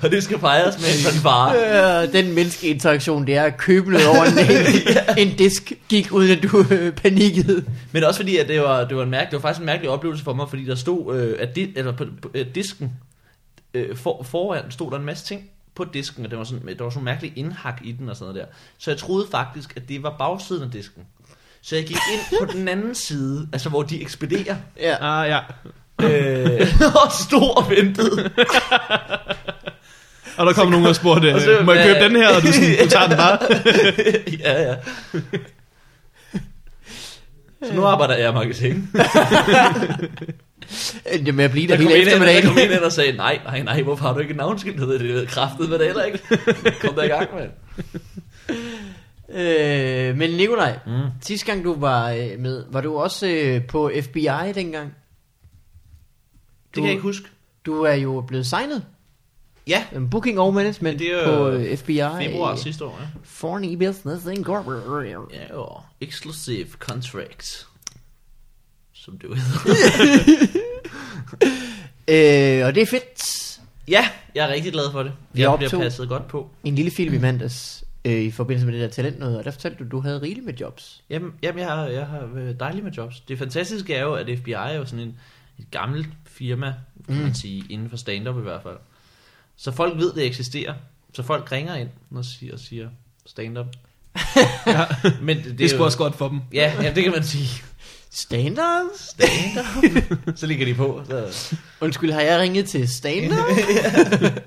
og det skal fejres med en fanfare.
Øh, den menneskeinteraktion, det er at købe noget over en, en disk, gik uden at du øh, panikkede.
Men også fordi, at det var, det var, en mærke, det var faktisk en mærkelig oplevelse for mig, fordi der stod, øh, at di- eller på, på øh, disken øh, for, foran stod der en masse ting på disken, og det var sådan, der var sådan mærkelig indhak i den og sådan noget der. Så jeg troede faktisk, at det var bagsiden af disken. Så jeg gik ind på den anden side, altså hvor de ekspederer,
Ja.
Ah, ja. <laughs>
øh, og stod og ventede.
Og der kom nogen og spurgte,
og så-
øh, må jeg købe
øh,
den her? Og du, sådan, du tager den bare.
<laughs> ja, ja. Så nu arbejder jeg i marketing.
Endte Øh, med at blive der,
Der kom,
hele
en ind, der kom
eftermiddagen.
en ind og sagde, nej, nej, nej, hvorfor har du ikke en navnskilt? Det ved kraftet, hvad det heller ikke. Kom der i gang, mand.
<laughs> Øh, men Nikolaj,
Mm.
mm. sidste gang du var øh, med, var du også øh, på FBI dengang?
Det kan jeg ikke huske.
Du er jo blevet signet.
Ja.
Øhm, Booking og management
Det er
det
jo
på øh, FBI.
Februar
øh,
sidste år, ja.
Foreign Business
<laughs>
Incorporated.
Ja, jo. Exclusive contract. Som det jo hedder. <laughs>
Øh, og det er fedt.
ja, jeg er rigtig glad for det.
Vi
Jeg
optog.
bliver passet godt på.
En lille film i mandags øh, i forbindelse med det der talent noget, og der fortalte du, at du havde rigeligt med jobs.
Jamen, jamen jeg, har, jeg har øh, dejligt med jobs. Det fantastiske er jo, at FBI er jo sådan en, et gammelt firma, kan man sige, inden for stand-up i hvert fald. Så folk ved, det eksisterer. Så folk ringer ind og siger, og siger stand-up.
Ja.
Men det,
Det er
er
sgu
jo-
også godt for dem.
Ja, ja, det kan man sige.
Stand-up?
Stand-up. <laughs> så ligger de på. Så.
Undskyld, har jeg ringet til stand-up?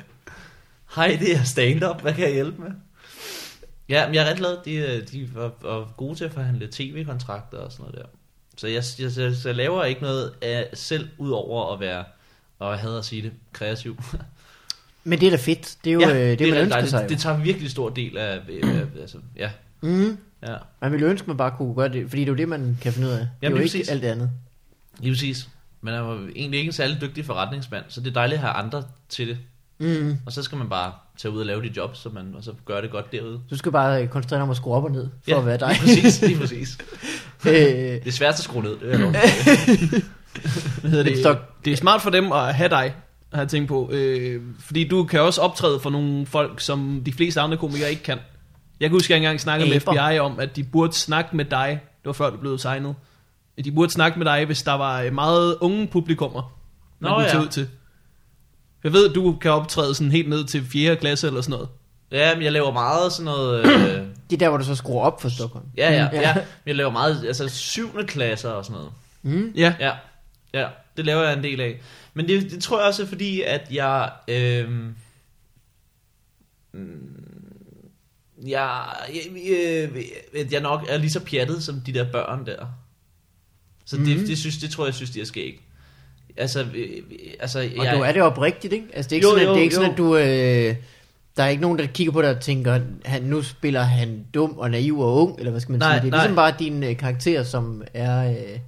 <laughs> Hej, det er stand-up. Hvad kan jeg hjælpe med? Ja, men jeg er ret glad. De, øh, de var, var gode til at forhandle tv-kontrakter og sådan noget der. Så jeg, jeg, jeg, jeg laver ikke noget af selv, udover at være, og jeg hader at sige det, kreativ.
Men det er da fedt. Det er jo ja, øh, det, det, man
ret
ønsker
dejligt.
sig.
det,
jo.
det tager virkelig stor del af, øh, øh, altså, ja,
Mm.
ja,
Man ville ønske, man bare kunne gøre det, fordi det er jo det, man kan finde ud af. Jamen, det er jo
lige
ikke
præcis.
alt det andet.
lige præcis. Men jeg var egentlig ikke en særlig dygtig forretningsmand, så det er dejligt at have andre til det.
Mm.
Og så skal man bare tage ud og lave de job, så man, og så gør det godt derude.
Du skal bare øh, koncentrere dig om at skrue op og ned, for at være
<laughs>
dig.
lige præcis, lige præcis.
øh,
Det er svært at skrue ned, det vil jeg love.
Hvad hedder
En
det?
stok.
det er smart for dem at have dig, har jeg tænkt på. Øh, fordi du kan også optræde for nogle folk, som de fleste andre komikere ikke kan. Jeg kan huske, at jeg engang snakkede med
Aber.
FBI om, at de burde snakke med dig. Det var før du blev signet. De burde snakke med dig, hvis der var øh, meget unge publikummer, man
Nå
kunne tage
ja.
ud til. Jeg ved, at du kan optræde sådan helt ned til 4. klasse eller sådan noget.
Ja, men jeg laver meget sådan noget... Øh,
det er der, hvor du så skruer op for Stockholm.
ja, ja,
Mm, ja.
ja. Men Jeg laver meget, altså syvende klasser og sådan noget.
Mm.
Ja,
Ja, ja, det laver jeg en del af. Men det, det tror jeg også er fordi, at jeg... Øh, mm, jeg, jeg, øh, at jeg nok er lige så pjattet som de der børn der. Så det,
Mhm.
det, synes, det tror jeg, synes, de er skægt. Altså, øh, altså,
Og
jeg,
du er det oprigtigt, ikke? Altså, det er ikke,
Jo,
jo, sådan, at,
jo,
det er ikke
jo.
sådan, at du... Øh, der er ikke nogen, der kigger på dig og tænker, han, nu spiller han dum og naiv og ung, eller hvad skal man
Nej,
sige. Det er
nej.
ligesom bare din øh, karakter, som er... Øh,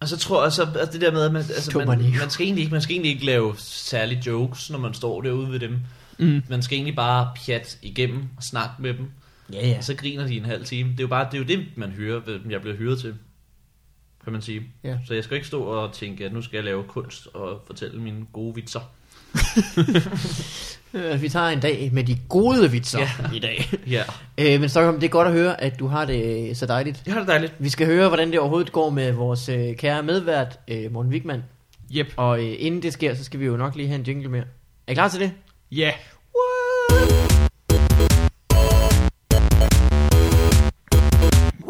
Og så tror jeg så, at det der med, at man, altså,
Stummer
man,
lige.
man, skal egentlig ikke, man skal egentlig ikke lave særlige jokes, når man står derude ved dem.
Mm.
Man skal egentlig bare pjat igennem og snakke med dem.
ja, ja.
Og så griner de en halv time. Det er jo bare det, er jo det man hører, hvad jeg bliver hyret til. Kan man sige.
Ja.
Så jeg skal ikke stå og tænke, at nu skal jeg lave kunst og fortælle mine gode vitser.
Øh, Vi tager en dag med de gode vitser ja. i dag. <laughs>
Ja.
Øh, men Stockholm, det er godt at høre, at du har det øh, så dejligt.
Jeg har det dejligt.
Vi skal høre, hvordan det overhovedet går med vores øh, kære medvært, øh, Morten Wigman.
yep.
Og øh, inden det sker, så skal vi jo nok lige have en jingle mere. Er I klar til det?
Ja.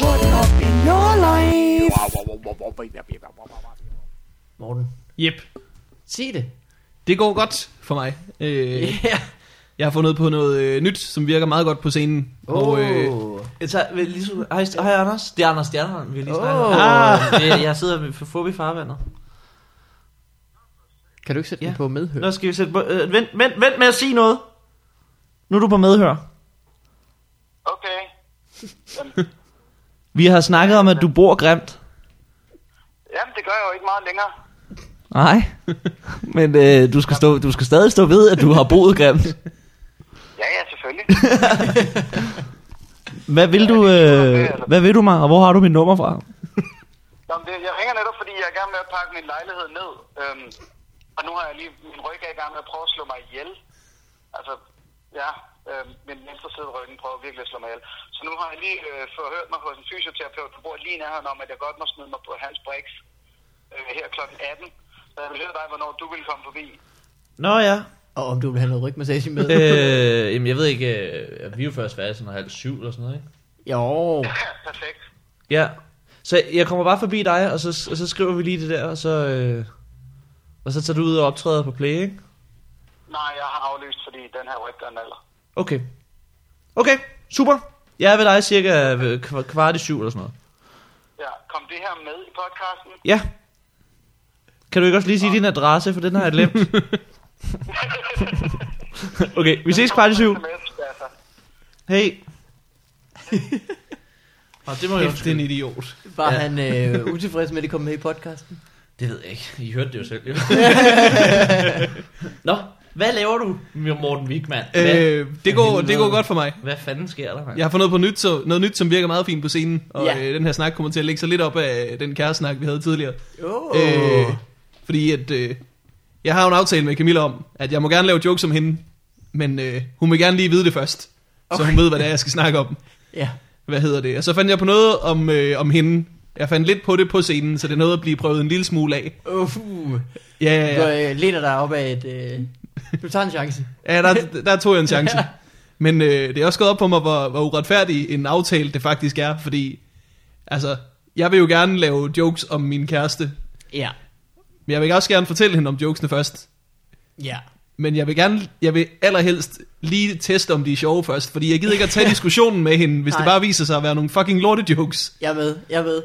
What up in your life?
Morten,
Yep.
sig det.
Det går godt for mig. Øh,
Ja.
Jeg har fundet på noget øh, nyt, som virker meget godt på scenen. Og, øh,
Åh.
Jeg tager, vil lige, så- hej, st- hej, Anders. Det er Anders Stjernholm, vi har lige
Åh.
snakket om. Oh. Jeg, jeg sidder med forbi farvandet.
Kan du ikke sætte ja.
Ja.
den på medhør?
Nu skal vi sætte på, øh, vent, vent, vent med at sige noget. Nu er du på medhør.
Okay.
Vi har snakket om, at du bor grimt.
Jamen, det gør jeg jo ikke meget længere.
<laughs>
Nej, men øh, du, skal stå, du skal stadig stå ved, at du har boet grimt.
Ja, ja, selvfølgelig.
Hvad vil du, øh, hvad vil du mig, og hvor har du mit nummer fra?
Nå, men det, jeg ringer netop, fordi jeg er i gang med at pakke min lejlighed ned. Øhm, og nu har jeg lige min ryg er i gang med at prøve at slå mig ihjel. Altså, ja, øhm, min venstre side af ryggen prøver virkelig at slå mig ihjel. Så nu har jeg lige øh, forhørt mig hos en fysioterapeut, der bor lige i nærheden om, at jeg godt må smide mig på hans Brix øh, her kl. 18. Så jeg vil høre dig, hvornår du vil komme forbi.
Nå ja.
Og om du vil have noget rygmassage med.
Øh, jamen, jeg ved ikke, øh, vi er jo først færdige sådan halv syv eller sådan noget, ikke?
jo,
Ja, perfekt.
Ja. Så jeg kommer bare forbi dig, og så, og så skriver vi lige det der, og så, øh, og så tager du ud og optræder på play, ikke?
Nej, jeg har aflyst, fordi den her ryg gør en alder.
Okay. Okay, super. Jeg er ved dig cirka øh, kva- kvart i syv eller sådan noget.
Ja, kom det her med i podcasten?
Ja. Kan du ikke også lige sige din adresse, for den har jeg <laughs> glemt. okay, vi ses kvart i syv.
SMS, altså.
<laughs> Hey. Og det må jeg
Kæft, det er en
undskylde.
idiot.
var
Ja.
ja. han øh, utilfreds med, at det kom med i podcasten?
Det ved jeg ikke. I hørte det jo <laughs> selv, jo. Nå, hvad laver du, Morten Wigman? Hvad, øh,
Øh, det, går, det går godt for mig.
hvad fanden sker der, mand?
Jeg har fundet på nyt, så, noget nyt, som virker meget fint på scenen, og
Ja.
ja. øh, den her snak kommer til at lægge sig lidt op af den kæreste vi havde tidligere.
Oh.
Øh, fordi at, øh, jeg har jo en aftale med Camilla om, at jeg må gerne lave jokes om hende, men øh, hun vil gerne lige vide det først, okay. så hun ved, hvad det er, jeg skal snakke om.
Ja.
Hvad hedder det? Og så fandt jeg på noget om, øh, om hende. Jeg fandt lidt på det på scenen, så det er noget at blive prøvet en lille smule af.
Uh, uh.
Ja, ja,
Du
ja.
øh, læner dig op af et... Øh, du tager en chance.
Ja, der, der tog jeg en chance.
Ja.
Men øh, det er også gået op på mig, hvor, hvor uretfærdig en aftale det faktisk er, fordi altså, jeg vil jo gerne lave jokes om min kæreste,
Ja.
men jeg vil også gerne fortælle hende om jokesene først.
Ja.
Men jeg vil, gerne, jeg vil allerhelst lige teste, om de er sjove først, fordi jeg gider ikke at
<laughs>
tage diskussionen med hende, hvis Nej. det
Nej.
bare viser sig at være nogle fucking lorte jokes.
Jeg er med, jeg er med.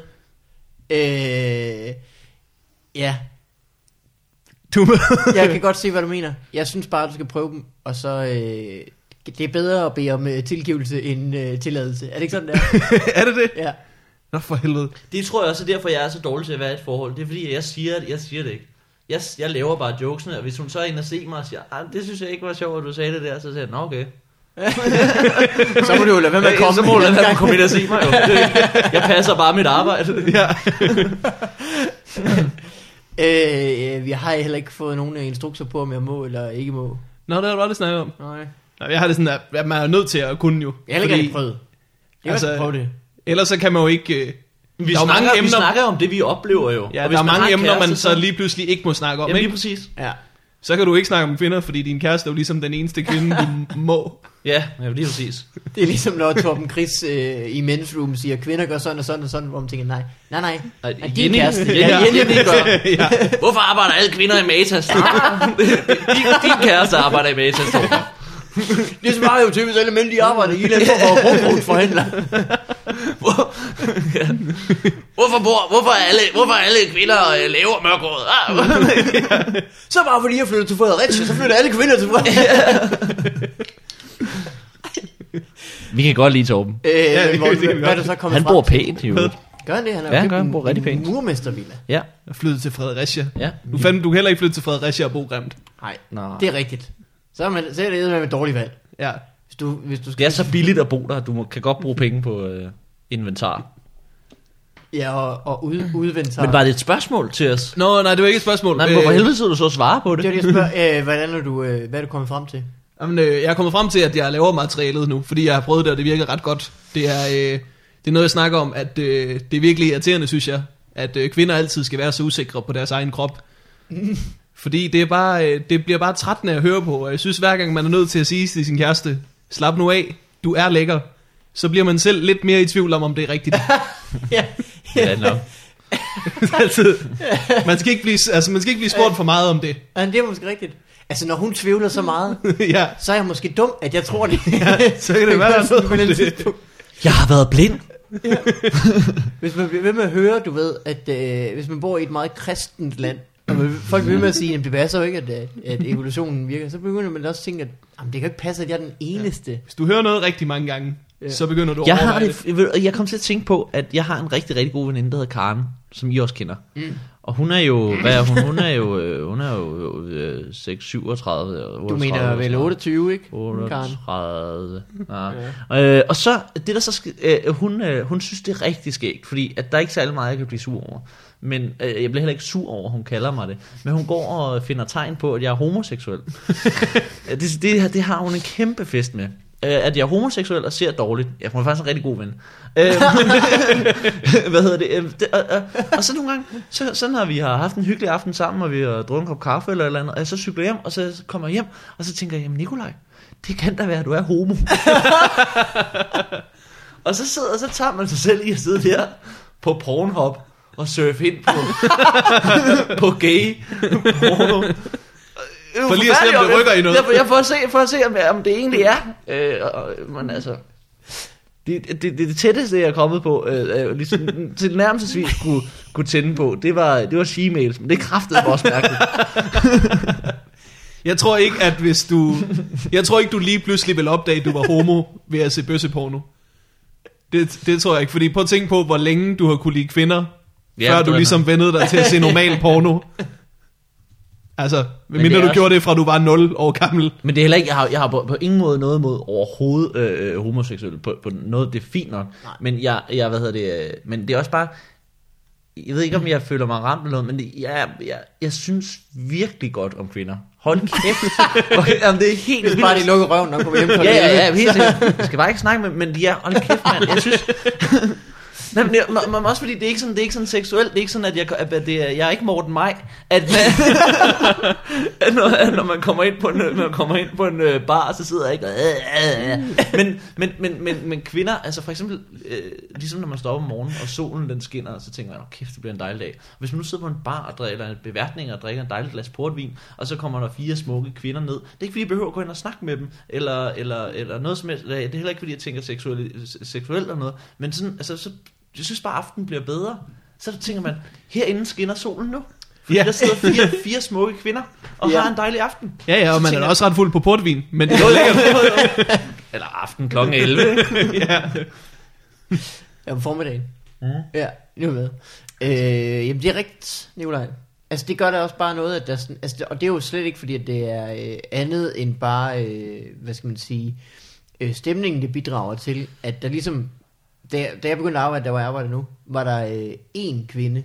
Øh, ja,
Du
jeg kan godt se, hvad du mener. Jeg synes bare, du skal prøve dem, og så... Øh, det er bedre at bede om øh, tilgivelse end øh, tilladelse. Er det ikke sådan, der?
<laughs>
<laughs>
er det det?
Ja.
Nå for helvede.
Det tror jeg også er derfor, jeg er så dårlig til at være i et forhold. Det er fordi, jeg siger, at jeg siger det ikke. Jeg, jeg laver bare jokesene, og hvis hun så er inde og se mig og siger, "Ej, det synes jeg ikke var sjovt, at du sagde det der, så siger jeg, nå okay.
Så må du jo lade være med at komme.
så må du lade være med at komme ind og se mig <laughs> jo. Jeg passer bare mit arbejde.
<laughs> Ja.
Øh, øh, vi har heller ikke fået nogen øh, instrukser på, om jeg må eller ikke må.
Nå, det har du aldrig snakket om.
Nej.
Nå, Jeg har det sådan, at man er nødt til at kunne jo.
Jeg har heller ikke prøvet. Jeg har
Altså,
altså, prøvet det.
Ellers så kan man jo ikke... Øh,
Vi,
der er jo
snakker,
mange
vi
emner,
snakker om det, vi oplever jo.
Ja,
Og
der
hvis
er
man har
mange
en
emner, man
kæreste,
så lige pludselig ikke må snakke om,
Jamen
Jamen,
lige
ikke?
præcis.
Ja.
Så kan du ikke snakke om kvinder, fordi din kæreste er jo ligesom den
<laughs>
eneste kvinde, du må.
Ja, ja, lige præcis.
Det er ligesom, når Torben Chris øh, i Men's Room siger, kvinder gør sådan og sådan og sådan, hvor man tænker, nej, nej, nej.
Nej,
nej din
Jenny-
kæreste.
Jenny-
Ja, Jenny,
Jenny
gør.
gør.
<laughs> ja.
Hvorfor arbejder alle kvinder i
<laughs>
Matas? Ah. <laughs> din, din kæreste arbejder i Matas. Torben.
Det ligesom svarer jo til, hvis alle mænd, de arbejder i en eller anden form for forbrugsforhandler.
Hvor, ja. <laughs> hvorfor, bor, hvorfor, er alle, hvorfor er alle kvinder øh, laver mørkåret? <laughs> Ah.
Så bare fordi jeg flytter til Fredericia, så flytter alle kvinder til Fredericia.
Vi kan godt lide Torben.
øh,
Ja,
men
det-
Morten,
det kan vi
hvad er
godt.
du så kommet
Han
frem
bor
til?
pænt jo.
Gør han det? Han er
Ja,
jo
han
købt
gør. Han
en-
bor rigtig
en
pænt.
Murmestervilla.
Ja.
Jeg flyttede til Fredericia.
Ja.
Du fandt du kan heller ikke flytte til Fredericia og bo grimt.
Nej,
Nå.
det er rigtigt. Så er, man, så er det med et dårligt valg.
Ja.
Hvis du, hvis du skal...
Det er så billigt at bo der, du må, kan godt bruge penge på øh, inventar.
Ja, og, og ud, udvende sig.
Men var det et spørgsmål til os?
Nå, nej, det var ikke et spørgsmål. Øh,
Nej, men hvorfor helvede sidder du så og svarer på det?
Øh, Det
<laughs>
var det, jeg spørger. Øh, hvordan er du, øh, hvad er du kommet frem til?
Jamen, øh, jeg er kommet frem til, at jeg laver materialet nu, fordi jeg har prøvet det, og det virker ret godt. Det er, øh, det er noget, jeg snakker om, at øh, det er virkelig irriterende, synes jeg, at øh, kvinder altid skal være så usikre på deres egen
<laughs>
krop. fordi det, er bare, øh, det bliver bare trættende at høre på, og jeg synes, hver gang man er nødt til at sige til sin kæreste, slap nu af, du er lækker, så bliver man selv lidt mere i tvivl om, om det er
<laughs>
rigtigt.
ja,
Ja, nå.
altid. Man skal, ikke blive, altså, man skal ikke blive spurgt for meget om det. <laughs>
ja, det er måske rigtigt. Altså, når hun tvivler så meget,
<laughs>
ja,
så er jeg måske dum, at jeg tror det.
så kan det være, der er noget om det.
Jeg har været blind.
<laughs> Hvis man bliver ved med at høre, du ved, at øh, hvis man bor i et meget kristent land, og man, folk bliver ved med at sige, at det passer jo ikke, at, øh, at evolutionen virker, så begynder man også at tænke, at jamen, det kan jo ikke passe, at jeg er den eneste.
Hvis du hører noget rigtig mange gange,
Ja.
så begynder du at
Jeg har
overveje
det, ved du, jeg kom til at tænke på, at jeg har en rigtig, rigtig god veninde, der hedder Karen, som I også kender. Mm. Og hun er jo, hvad er hun? Hun er jo, øh, hun er jo øh, 6, 37 eller 38.
Du mener vel 28, ikke? Karen?
38. Ja. Øh, og så, det der så, sk- øh, hun, øh, hun synes det er rigtig skægt, fordi at der er ikke særlig meget, jeg kan blive sur over. Men øh, jeg bliver heller ikke sur over, hun kalder mig det. Men hun går og finder tegn på, at jeg er homoseksuel. Ja, det, det, det har hun en kæmpe fest med. Øh, at jeg er homoseksuel og ser dårligt. Ja, hun er faktisk en rigtig god ven. Øh, <laughs> hvad hedder det? Øh, det og, og, og så nogle gange, så, så når vi har haft en hyggelig aften sammen, og vi har drukket en kop kaffe eller et eller andet, og jeg så cykler hjem, og så kommer jeg hjem, og så tænker jeg, jamen Nikolaj, det kan da være, at du er homo. og så sidder så tager man sig selv i at sidde der på Pornhub og surfe ind på, <laughs> på gay porno. Øh,
For lige at se, om det
forfærdeligt,
rykker i noget.
Ja, for, ja, for at se, for at se om, om det egentlig er. Øh, og, men altså... Det, det, det, det tætteste, jeg er kommet på, øh, øh, ligesom, til nærmest kunne, kunne tænde på, det var, det var she-mails, men det kræftede mig også mærkeligt.
Jeg tror ikke, at hvis du... Jeg tror ikke, du lige pludselig vil opdage, at du var homo ved at se bøsseporno. Det, det tror jeg ikke, fordi prøv at tænke på, hvor længe du har kunne lide kvinder,
Ja,
ja, før
det
du
er
ligesom vendede dig til at se normal porno. Altså,
det
medmindre
er
du
også-
gjorde det, fra du var 0 år gammel.
Men det er heller ikke, jeg har, jeg har på, på ingen måde noget mod overhovedet øh, øh, homoseksuelle på, på noget, det er fint nok. Nej. Men jeg, jeg, hvad hedder det, øh, men det er også bare, jeg ved ikke om jeg føler mig ramt eller noget, men det, jeg, jeg, jeg synes virkelig godt om kvinder.
<laughs>
Hold kæft. Okay, Jamen, det er helt
Hvis
vildt.
bare de lukker røven,
<laughs>
når kommer hjem på
Ja,
det.
ja, ja, helt sikkert. Jeg skal bare ikke snakke med, men de er, hold kæft, mand. Jeg synes... <laughs> Nej, men, jeg, men, men også fordi det er ikke sådan, det er ikke sådan seksuelt, det er ikke sådan, at jeg, at det er, jeg er ikke Morten Maj, at, man, <laughs> at når, at når, man kommer ind på en, når man kommer ind på en øh, bar, så sidder jeg ikke og, øh, øh, øh. Men, men, men, men, men kvinder, altså for eksempel, øh, ligesom når man står op om morgenen, og solen den skinner, så tænker man, "Åh, kæft, det bliver en dejlig dag. Hvis man nu sidder på en bar og drikker, eller en beværtning og drikker en dejlig glas portvin, og så kommer der fire smukke kvinder ned, det er ikke fordi, jeg behøver at gå ind og snakke med dem, eller, eller, eller noget som helst, det er heller ikke fordi, jeg tænker seksuelt, seksuelt eller noget, men sådan, altså, så, jeg synes bare, aftenen bliver bedre. Så tænker man, herinde skinner solen nu. Fordi
Ja.
der sidder fire, fire smukke kvinder og
Ja.
har en dejlig aften.
Ja, ja, og man er
tænker-
da også ret fuld på portvin, men det er lækkert.
<laughs> Eller aften kl. <laughs> 11.
Ja, på formiddagen. Ja, nu med. Øh, jamen, det er rigtigt, Nikolaj. Altså, det gør da også bare noget, at der sådan, altså, det- og det er jo slet ikke, fordi at det er øh, andet end bare, øh, hvad skal man sige, øh, stemningen, det bidrager til, at der ligesom, da, jeg- da jeg begyndte at arbejde, der var jeg arbejder nu, var der øh, én kvinde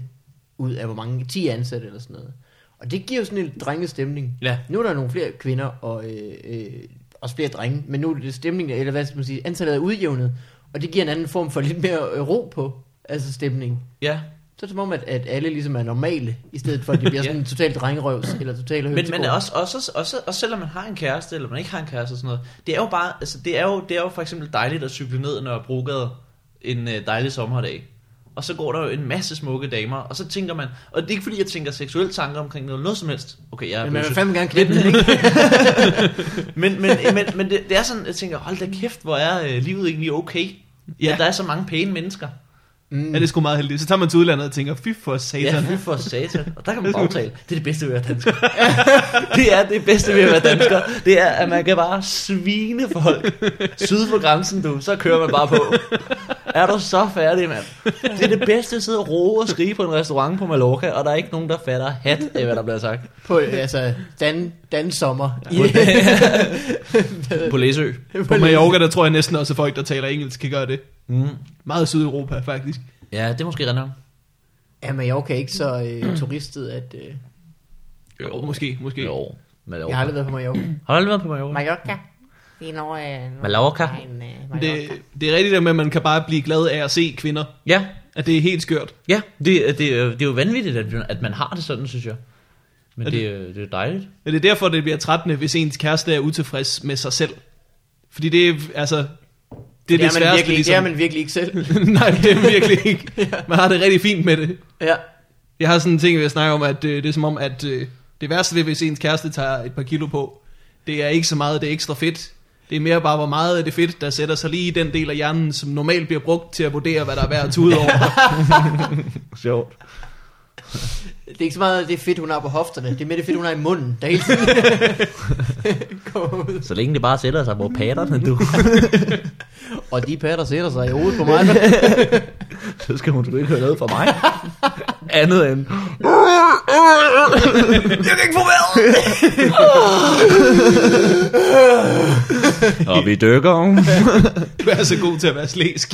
ud af hvor mange, 10 ansatte eller sådan noget. Og det giver jo sådan en drengestemning.
Ja.
Nu er der nogle flere kvinder og øh, øh, også flere drenge, men nu er det stemningen, eller hvad skal man sige, antallet er udjævnet, og det giver en anden form for lidt mere øh, ro på, altså stemningen.
ja.
Så er det som om, at, at alle ligesom er normale, i stedet for at
<laughs>
det bliver
Ja.
sådan en total drengerøvs, eller total
Men, men
hønsegård.
også, også, også, også selvom man har en kæreste, eller man ikke har en kæreste og sådan noget, det er jo bare, altså det er jo, det er jo for eksempel dejligt at cykle ned når Brogade en øh, dejlig sommerdag. Og så går der jo en masse smukke damer, og så tænker man, og det er ikke fordi, jeg tænker seksuelle tanker omkring noget, noget som helst. Okay, jeg er
Men man vil
bøsse.
fandme gerne klippe den, ikke?
<laughs> Men, men, men, men det, det er sådan, jeg tænker, hold da kæft, hvor er øh, livet egentlig okay? Ja.
Ja.
At der er så mange pæne mennesker.
Ja, det er sgu meget heldigt. Så tager man til udlandet og tænker, fy for
Ja,
satan.
fy for satan. Og der kan man bagtale. Det er det bedste ved at være dansker. det er det bedste ved at være dansker. Det er, at man kan bare svine folk. Syd for grænsen, du. Så kører man bare på. Er du så færdig, mand? Det er det bedste at sidde og roe og skrige på en restaurant på Mallorca, og der er ikke nogen, der fatter hat af, hvad der bliver sagt.
På, øh, altså, dan, dansommer. Ja.
På Læsø.
På Mallorca, der tror jeg næsten også, at folk, der taler engelsk, kan gøre det.
Mm.
Meget Sydeuropa, faktisk.
<laughs> Ja, det er måske rent nok.
Ja, Mallorca er ikke så
<clears throat>
øh, turistet, at... Øh,
Jo, måske, måske.
Jo. Mallorca.
jeg har aldrig været på Mallorca.
Har du aldrig været på Mallorca?
Mallorca. Det er noget... øh, noget-
Mallorca.
en, øh, Mallorca.
Det, det er rigtigt der med, at man kan bare blive glad af at se kvinder.
Ja,
At det er helt skørt.
ja. Det, er- det, er- det er jo vanvittigt, at, vi- at man har det sådan, synes jeg. Men
Er
det, det, er- det er dejligt.
Og det er derfor, det bliver trættende, hvis ens kæreste er utilfreds med sig selv. Fordi det er, altså, det er det,
Det er, man
sværeste,
virkelig,
ligesom.
det er man virkelig ikke
<laughs>
selv.
Nej, det er man virkelig
<laughs>
ikke. Man har det rigtig fint med det.
ja.
Jeg har sådan en ting, jeg snakker om, at øh, det er som om, at øh, det værste ved, hvis ens kæreste tager et par kilo på, det er ikke så meget, det er ekstra fedt. Det er mere bare, hvor meget af det fedt, der sætter sig lige i den del af hjernen, som normalt bliver brugt til at vurdere, hvad der er værd at tude
<laughs>
over.
Sjovt.
Det er ikke så meget det fedt, hun har på hofterne. Det er mere det fedt, hun har i munden, der hele tiden kommer ud.
Så længe det bare sætter sig på patterne, du,
Og de patter sætter sig i hovedet på mig.
så skal hun sgu ikke høre noget fra mig. andet end...
Og vi dykker.
Du er så god til at være slæsk.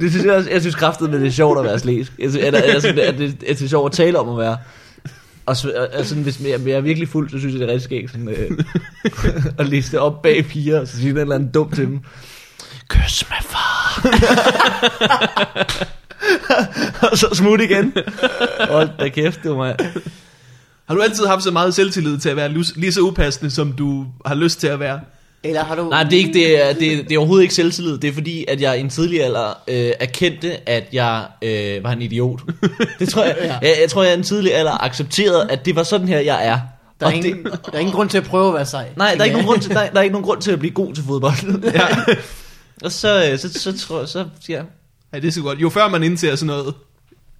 Det synes jeg, også, jeg synes kraftigt, men det er sjovt at være slæsk. Jeg synes, eller, eller sådan, at det, det er sjovt at tale om at være. Og så, og- og sådan, hvis jeg, jeg er virkelig fuld, så synes jeg, det er rigtig skægt sådan, øh, at liste op bag piger, og så sige en eller anden dum til dem. Kys med far. og så smut igen. Hold da kæft, du mig.
Har du altid haft så meget selvtillid til at være lus- lige så upassende, som du har lyst til at være?
<laughs> Eller har du...
Nej, det er, ikke, det, er, det, er, det er overhovedet ikke selvtillid. Det er fordi, at jeg i en tidlig alder øh, erkendte, at jeg øh, var en idiot. Det tror jeg.
Ja.
Jeg, jeg tror, jeg i en tidlig alder accepterede, at det var sådan her, jeg er.
Der er,
Og
ingen,
det,
der er ingen grund til at prøve at være sej.
nej, der er, ikke
Ja.
nogen grund til, der, der er ikke nogen grund til at blive god til fodbold. Ja. <laughs> Og så, øh, så, så, tror, så siger jeg,
Ja, det er så godt. Jo før man indser sådan noget,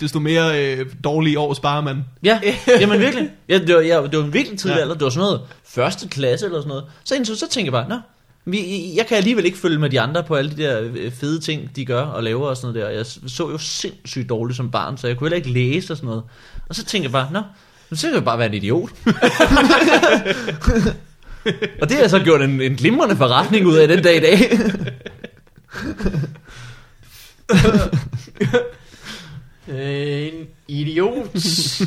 desto mere øh, dårlige år sparer man.
Ja, jamen virkelig. Ja, det, var, ja, det var en virkelig tidlig
Ja.
ja. alder. Det var sådan noget første klasse eller sådan noget. Så, indså, så tænker jeg bare, nå, vi, jeg kan alligevel ikke følge med de andre på alle de der øh, fede ting, de gør og laver og sådan noget der. Og Jeg så jo sindssygt dårligt som barn, så jeg kunne heller ikke læse og sådan noget. Og så tænker jeg bare, nå, men så kan jeg bare være en idiot. <laughs> og det har jeg så gjort en, en glimrende forretning ud af den dag i dag. <laughs>
Øh, En idiot.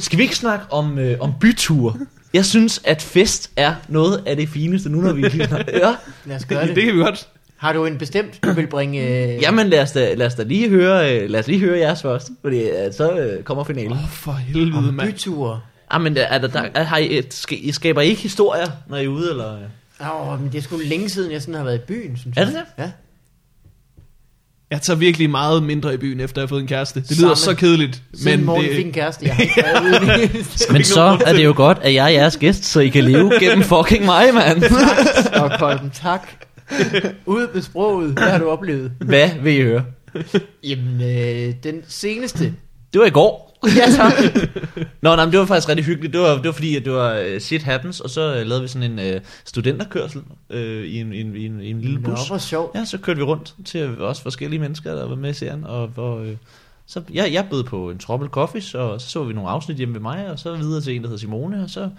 Skal vi ikke snakke om, øh, om byture? Jeg synes, at fest er noget af det fineste nu, når vi kigger. Ja.
Lad os gøre
Det, det
det.
kan vi godt.
Har du en bestemt, du vil bringe... Øh...
Jamen lad os da, lad os da lige høre, øh, lad os lige høre jeres først, fordi øh, så øh, kommer finalen.
Åh, oh, for helvede, mand.
Byture.
Ah, men er der, der, er, har I, et, sk- I skaber ikke historier, når I er ude, eller?
Åh, oh, men det er sgu længe siden, jeg sådan har været i byen, synes
Er
jeg.
det det?
Ja.
Jeg tager virkelig meget mindre i byen, efter jeg har fået en kæreste. Det
Samme.
lyder så kedeligt.
Siden men morgen det... fik en
<laughs>
kæreste, jeg har ikke været ude.
Men så er det jo godt, at jeg er jeres gæst, så I kan leve gennem fucking mig, mand.
Stockholm, tak. Ud med sproget, hvad har du oplevet?
Hvad vil I høre?
Jamen, øh, den seneste.
Det var i går.
Ja, tak.
<laughs> Nå, nej, men det var faktisk rigtig hyggeligt. Det var, det var fordi, at det var øh, shit happens, og så øh, lavede vi sådan en øh, studenterkørsel øh, i, en, i, en, i, en, i en lille
Nå,
bus.
hvor sjovt.
Ja, så kørte vi rundt til også forskellige mennesker, der var med i serien, og hvor... Øh, så jeg, jeg bød på en troppel coffees, og så så vi nogle afsnit hjemme ved mig, og så videre til en, der hedder Simone, og så...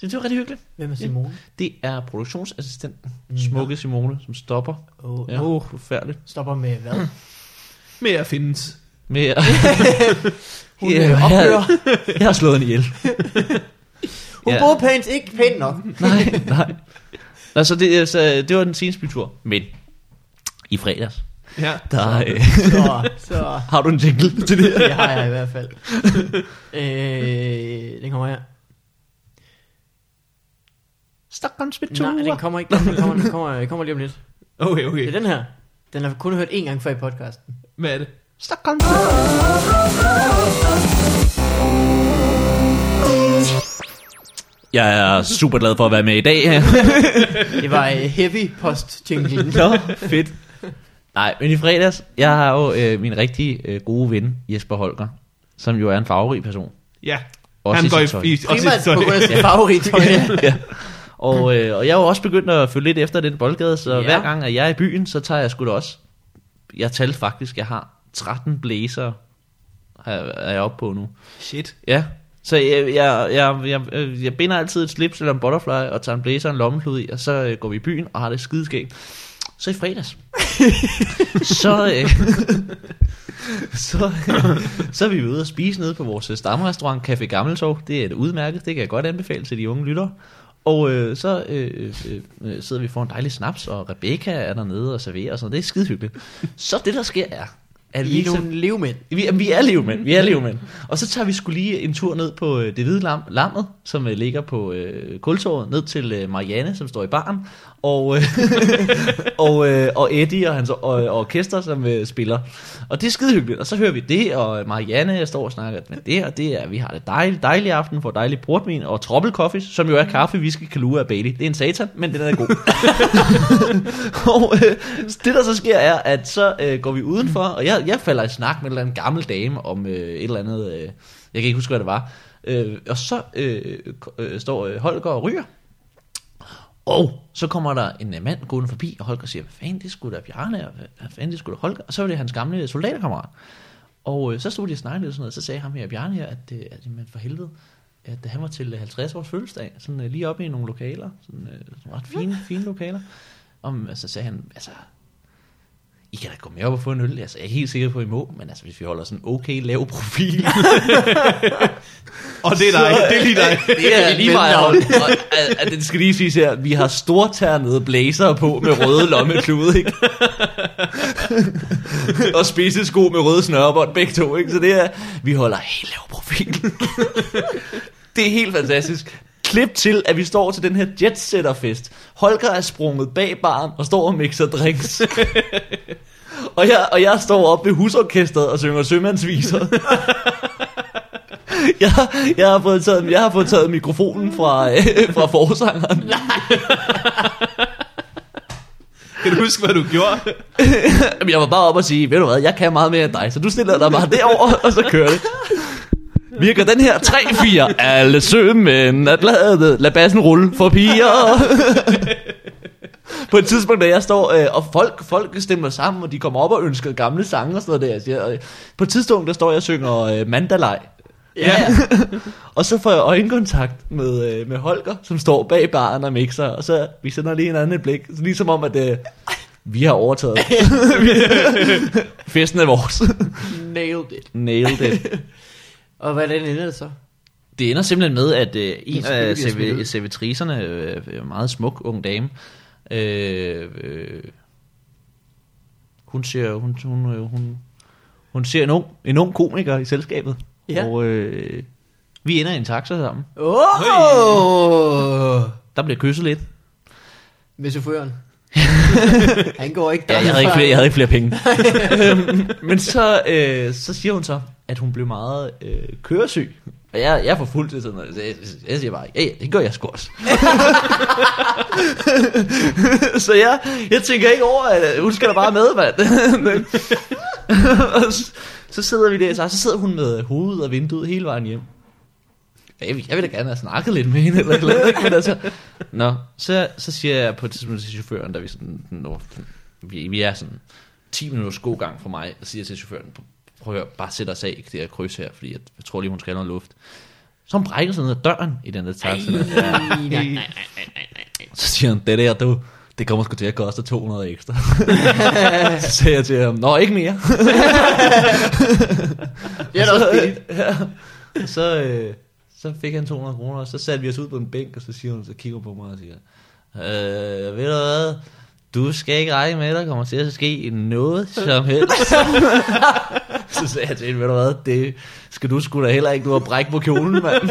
Så det var rigtig hyggeligt.
Hvem er Simone?
Det er produktionsassistenten, smukke Simone, som stopper.
Mm. Åh,
Ja, oh. forfærdeligt.
Stopper med hvad?
Mere findes.
Med, <laughs> ja,
Hun
jeg,
yeah, ophører.
jeg, jeg har slået en ihjel.
Hun
ja.
yeah. boede pænt, ikke pænt nok.
nej, nej. Nå, så det, så det var den seneste bytur. Men i fredags,
Ja.
der øh, <laughs>
Så, så
har du en jingle til det her.
det har jeg i hvert
<laughs>
fald. øh, den kommer her.
Stockholms
Nej, den kommer ikke. Den kommer, den kommer, den kommer lige om lidt.
Okay,
Det
okay.
er den her. Den har jeg kun hørt én gang før i podcasten.
Hvad er det?
Stockholms Jeg er super glad for at være med i dag.
Det var øh, heavy post
<laughs>
jinglen
<laughs> Nå, fedt. Nej, men i fredags, jeg har jo øh, min rigtig øh, gode ven, Jesper Holger, som jo er en farverig person.
Ja.
Også
han
i
går
sit
i,
tøj.
i, også i
Primært
sit
på
tøj.
grund af sin favorit.
<laughs> ja. og, øh, og jeg er jo også begyndt at følge lidt efter den boldgade, så
Ja.
ja. hver gang at jeg er i byen, så tager jeg sgu da også. Jeg talte faktisk, jeg har 13 blæser, er jeg oppe på nu.
<laughs> Shit.
Ja, så jeg, jeg, jeg, jeg, øh, jeg binder altid et slips eller en butterfly, og tager en blæser og en lommeklud i, og så øh, går vi i byen og har det skideskægt. Så i fredags, så, øh, <laughs> så, øh, så er vi ude og spise nede på vores øh, stamrestaurant Café Gammeltorv. Det er et udmærket, det kan jeg godt anbefale til de unge lyttere. Og øh, så øh, øh, øh, sidder vi for en dejlig snaps, og Rebecca er dernede og serverer og sådan noget. Det er skide hyggeligt. Så det, der sker, er, at
I
vi
er
så-
nogle levmænd.
vi, jamen, vi er levmænd, vi er levmænd. Og så tager vi skulle lige en tur ned på øh, det hvide lam, lammet, som øh, ligger på øh, kultorvet, ned til øh, Marianne, som står i baren, og, øh, <laughs> og, øh, og Eddie og hans og, og orkester, som øh, spiller. Og det er skide hyggeligt, og så hører vi det, og Marianne står og snakker med det, og det er, vi har det dejligt, dejlig aften, får dejlig portvin og troppelkoffes, som jo er kaffe, whisky, kalua og Bailey. Det er en satan, men den er god. <laughs> Og øh, det der så sker er, at så øh, går vi udenfor, og jeg, jeg falder i snak med en eller anden gammel dame om øh, et eller andet, øh, jeg kan ikke huske, hvad det var. Øh, og så øh, k- øh, står øh, Holger og ryger. Og så kommer der en øh, mand gående forbi, og Holger siger, hvad fanden det skulle da Bjarne, og hvad- hvad fanden det skulle da Holger, og så er det hans gamle soldaterkammerat. Og øh, så stod de og snakkede lidt og sådan noget, så sagde ham her, Bjarne her, at, øh, at man for helvede, at da han var til øh, 50 års fødselsdag, sådan øh, lige oppe i nogle lokaler, sådan øh, sådan ret fine, fine lokaler, om, øh, så sagde han, altså, I kan da gå med op og få en øl, altså, jeg er helt sikker på, at I må, men altså, hvis vi holder sådan okay lav profil,
Og det er dig, det er lige <laughs> dig.
<laughs> det er lige meget. Og, og, og, og, det skal lige siges her, vi har storternede blazer på med røde lommeklude, <laughs> ikke? og spidsesko med røde snørebånd, begge to, ikke? Så det er, vi holder helt lav <laughs> profil. det er helt fantastisk. Klip til, at vi står til den her jetsetterfest. Holger er sprunget bag baren og står og mixer <laughs> drinks. og, jeg, og jeg står oppe ved husorkestret og synger sømandsviser jeg, jeg, har fået taget, jeg har fået taget mikrofonen fra, øh, fra forsangeren.
Kan du huske, hvad du gjorde?
Jamen, jeg var bare op og sige, ved du hvad, jeg kan meget mere end dig, så du stiller dig bare derover og så kører det. Virker den her 3-4, alle sømænd er glade, lad bassen rulle for piger. På et tidspunkt, da jeg står, øh, og folk, folk stemmer sammen, og de kommer op og ønsker gamle sange og sådan noget der. Jeg siger, øh, på et tidspunkt, der står jeg og synger øh, Mandalay. Ja. og så får jeg øjenkontakt med, øh, med Holger, som står bag baren og mixer, og så vi sender lige en anden et blik, så ligesom om, at øh, vi har <laughs> overtaget. Festen er vores.
Nailed it.
Nailed it.
Og hvordan ender det så?
Det ender simpelthen med, at øh, en
selvfølgelig
af
bliver smidt
serv-
ud.
servitriserne, øh, øh, meget smuk ung dame, øh, øh, hun ser hun, hun, øh, hun, hun ser en ung, en ung komiker i selskabet,
Ja.
og øh, vi ender i en taxa sammen.
Åh! Oh!
Der bliver kysset lidt. <laughs>
Med chaufføren. Han går ikke
Ja, jeg, havde ikke flere, jeg havde ikke flere penge. <laughs> Øhm, Men så, øh, så siger hun så, at hun blev meget øh, køresyg. Og jeg, jeg er for fuld til sådan noget. Så Jeg, jeg siger bare, ja, ja, det gør jeg sgu også. <laughs> så jeg, jeg tænker ikke over, at hun skal da bare med, mand. <laughs> Og så- så sidder vi der, så, så sidder hun med hovedet og vinduet hele vejen hjem. Jeg vil, jeg vil da gerne have snakket lidt med hende, eller et eller andet, ikke? Men altså, Nå, så, så siger jeg på et tidspunkt til chaufføren, da vi sådan, nå, vi, vi er sådan 10 minutters god gang for mig, og siger til chaufføren, "Pr- prøv at høre, bare sæt os af i det her kryds her, fordi jeg, jeg tror lige, hun skal have noget luft. Så hun brækker sig ned ad døren i den der taxa. der. Så siger han, det der, du, det kommer sgu til at koste 200 ekstra. <laughs> så siger jeg til ham, nå, ikke mere.
Det er da også
<laughs>
billigt.
Og så, øh, så fik han 200 kroner, og så satte vi os ud på en bænk, og så, siger hun, så kigger hun på mig og siger, øh, ved du hvad, du skal ikke regne med, at der kommer til at ske noget som
<laughs>
helst. så sagde jeg til hende, ved du hvad, det skal du sgu da heller ikke, du har bræk på kjolen, mand.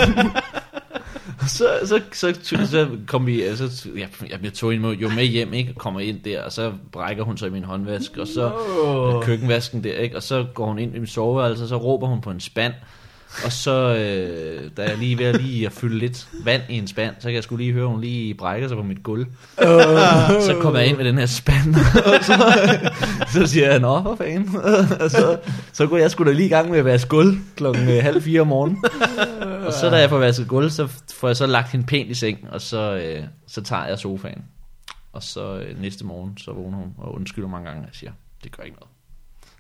<laughs> så, så, så, så, så kom vi, øh, så, jeg, jeg tog hende jo med hjem, ikke, og kommer ind der, og så brækker hun sig i min håndvask, og så no. køkkenvasken der, ikke, og så går hun ind i min soveværelse, og så råber hun på en spand, og så, øh, da jeg lige ved at lige at fylde lidt vand i en spand, så kan jeg skulle lige høre, at hun lige brækker sig på mit gulv. <laughs> Så kommer jeg ind med den her spand, <laughs> og så, så siger jeg, nå, for fanden. <laughs> Og så, så går jeg sgu da lige i gang med at vaske gulv klokken øh, halv fire om morgenen. Og så da jeg får vasket gulv, så får jeg så lagt hende pænt i seng, og så, øh, så tager jeg sofaen. Og så øh, næste morgen, så vågner hun og undskylder mange gange, og jeg siger, det gør ikke noget.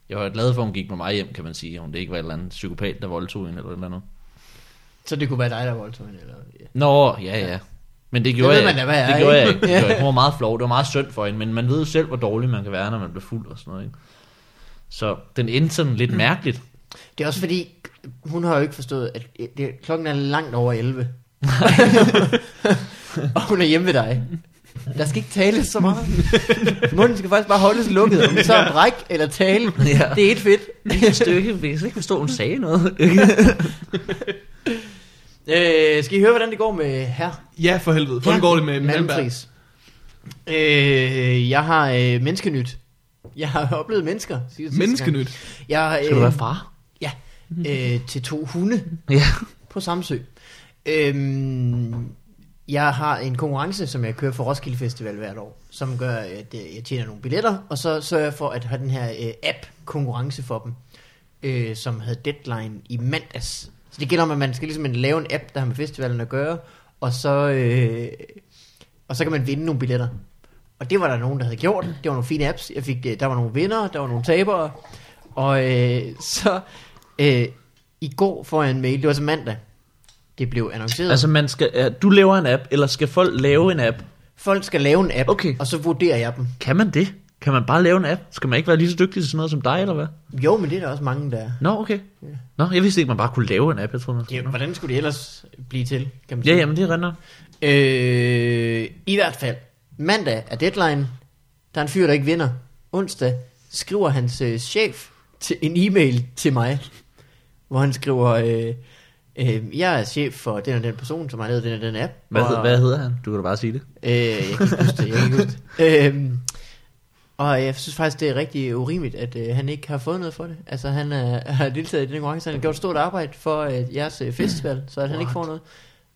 Jeg var glad for, at hun gik med mig hjem, kan man sige. Hun det ikke var et eller andet psykopat, der voldtog hende eller et eller andet.
Så det kunne være dig, der voldtog hende. Eller... Ja.
Nå, ja, ja. Men det gjorde
ved
jeg,
man da, hvad jeg
det
er,
gjorde
ikke?
jeg ikke. Det <laughs>
Ja.
gjorde jeg. Hun var meget flov. Det var meget synd for hende, men man ved jo selv, hvor dårlig man kan være, når man bliver fuld og sådan noget. Ikke? Så den endte sådan lidt mærkeligt.
Det er også fordi, hun har jo ikke forstået, at det, klokken er langt
<laughs>
over 11. og hun er hjemme ved dig. Der skal ikke tales så meget. Munden skal faktisk bare holdes lukket. Om det så er bræk eller tale,
Ja.
det er et
<laughs>
fedt.
Et stykke, <laughs> jeg kan ikke forstå, at hun sagde noget.
Øh, skal I høre, hvordan det går med her?
Ja, for helvede. Hvordan går det med Malmberg?
Malmfris? Øh, jeg har øh, menneskenyt. Jeg har oplevet mennesker. siger jeg sidste gang.
Menneskenyt.
Jeg,
<laughs>
øh,
Skal du være far?
Ja, øh, til to hunde
Ja.
på Samsø. Øhm, jeg har en konkurrence, som jeg kører for Roskilde Festival hvert år, som gør, at øh, jeg tjener nogle billetter, og så sørger jeg for at have den her øh, app-konkurrence for dem, øh, som havde deadline i mandags. Så det gælder om, at man skal ligesom lave en app, der har med festivalen at gøre, og så, øh, og så kan man vinde nogle billetter. Og det var der nogen, der havde gjort. Det var nogle fine apps. Jeg fik, øh, der var nogle vinder, der var nogle tabere. Og øh, <laughs> så øh, i går får jeg en mail, det var så mandag, det blev annonceret.
Altså, man skal, ja, du laver en app, eller skal folk lave en app?
Folk skal lave en app,
Okay.
og så vurderer jeg dem.
Kan man det? Kan man bare lave en app? Skal man ikke være lige så dygtig til sådan noget som dig, eller hvad?
Jo, men det er der også mange, der er.
Nå, okay. Nå, jeg vidste ikke, man bare kunne lave en app, jeg tror, man
Ja,
Nå.
hvordan skulle det ellers blive til, kan man
Ja,
sige?
jamen, det er render.
Øh, I hvert fald, mandag er deadline. Der er en fyr, der ikke vinder. Onsdag skriver hans øh, chef til en e-mail til mig, hvor han skriver, øh, øh, jeg er chef for den og den person, som har lavet den og den app.
Hvad,
og,
hed, hvad hedder han? Du kan da bare sige det.
Øh, jeg kan ikke huske det, jeg kan ikke huske
<laughs>
det. Øhm, og jeg synes faktisk, det er rigtig urimeligt, at øh, han ikke har fået noget for det. Altså, han øh, <laughs> har deltaget i den konkurrence, han har gjort et stort arbejde for øh, jeres øh, festival, så at han ikke får noget.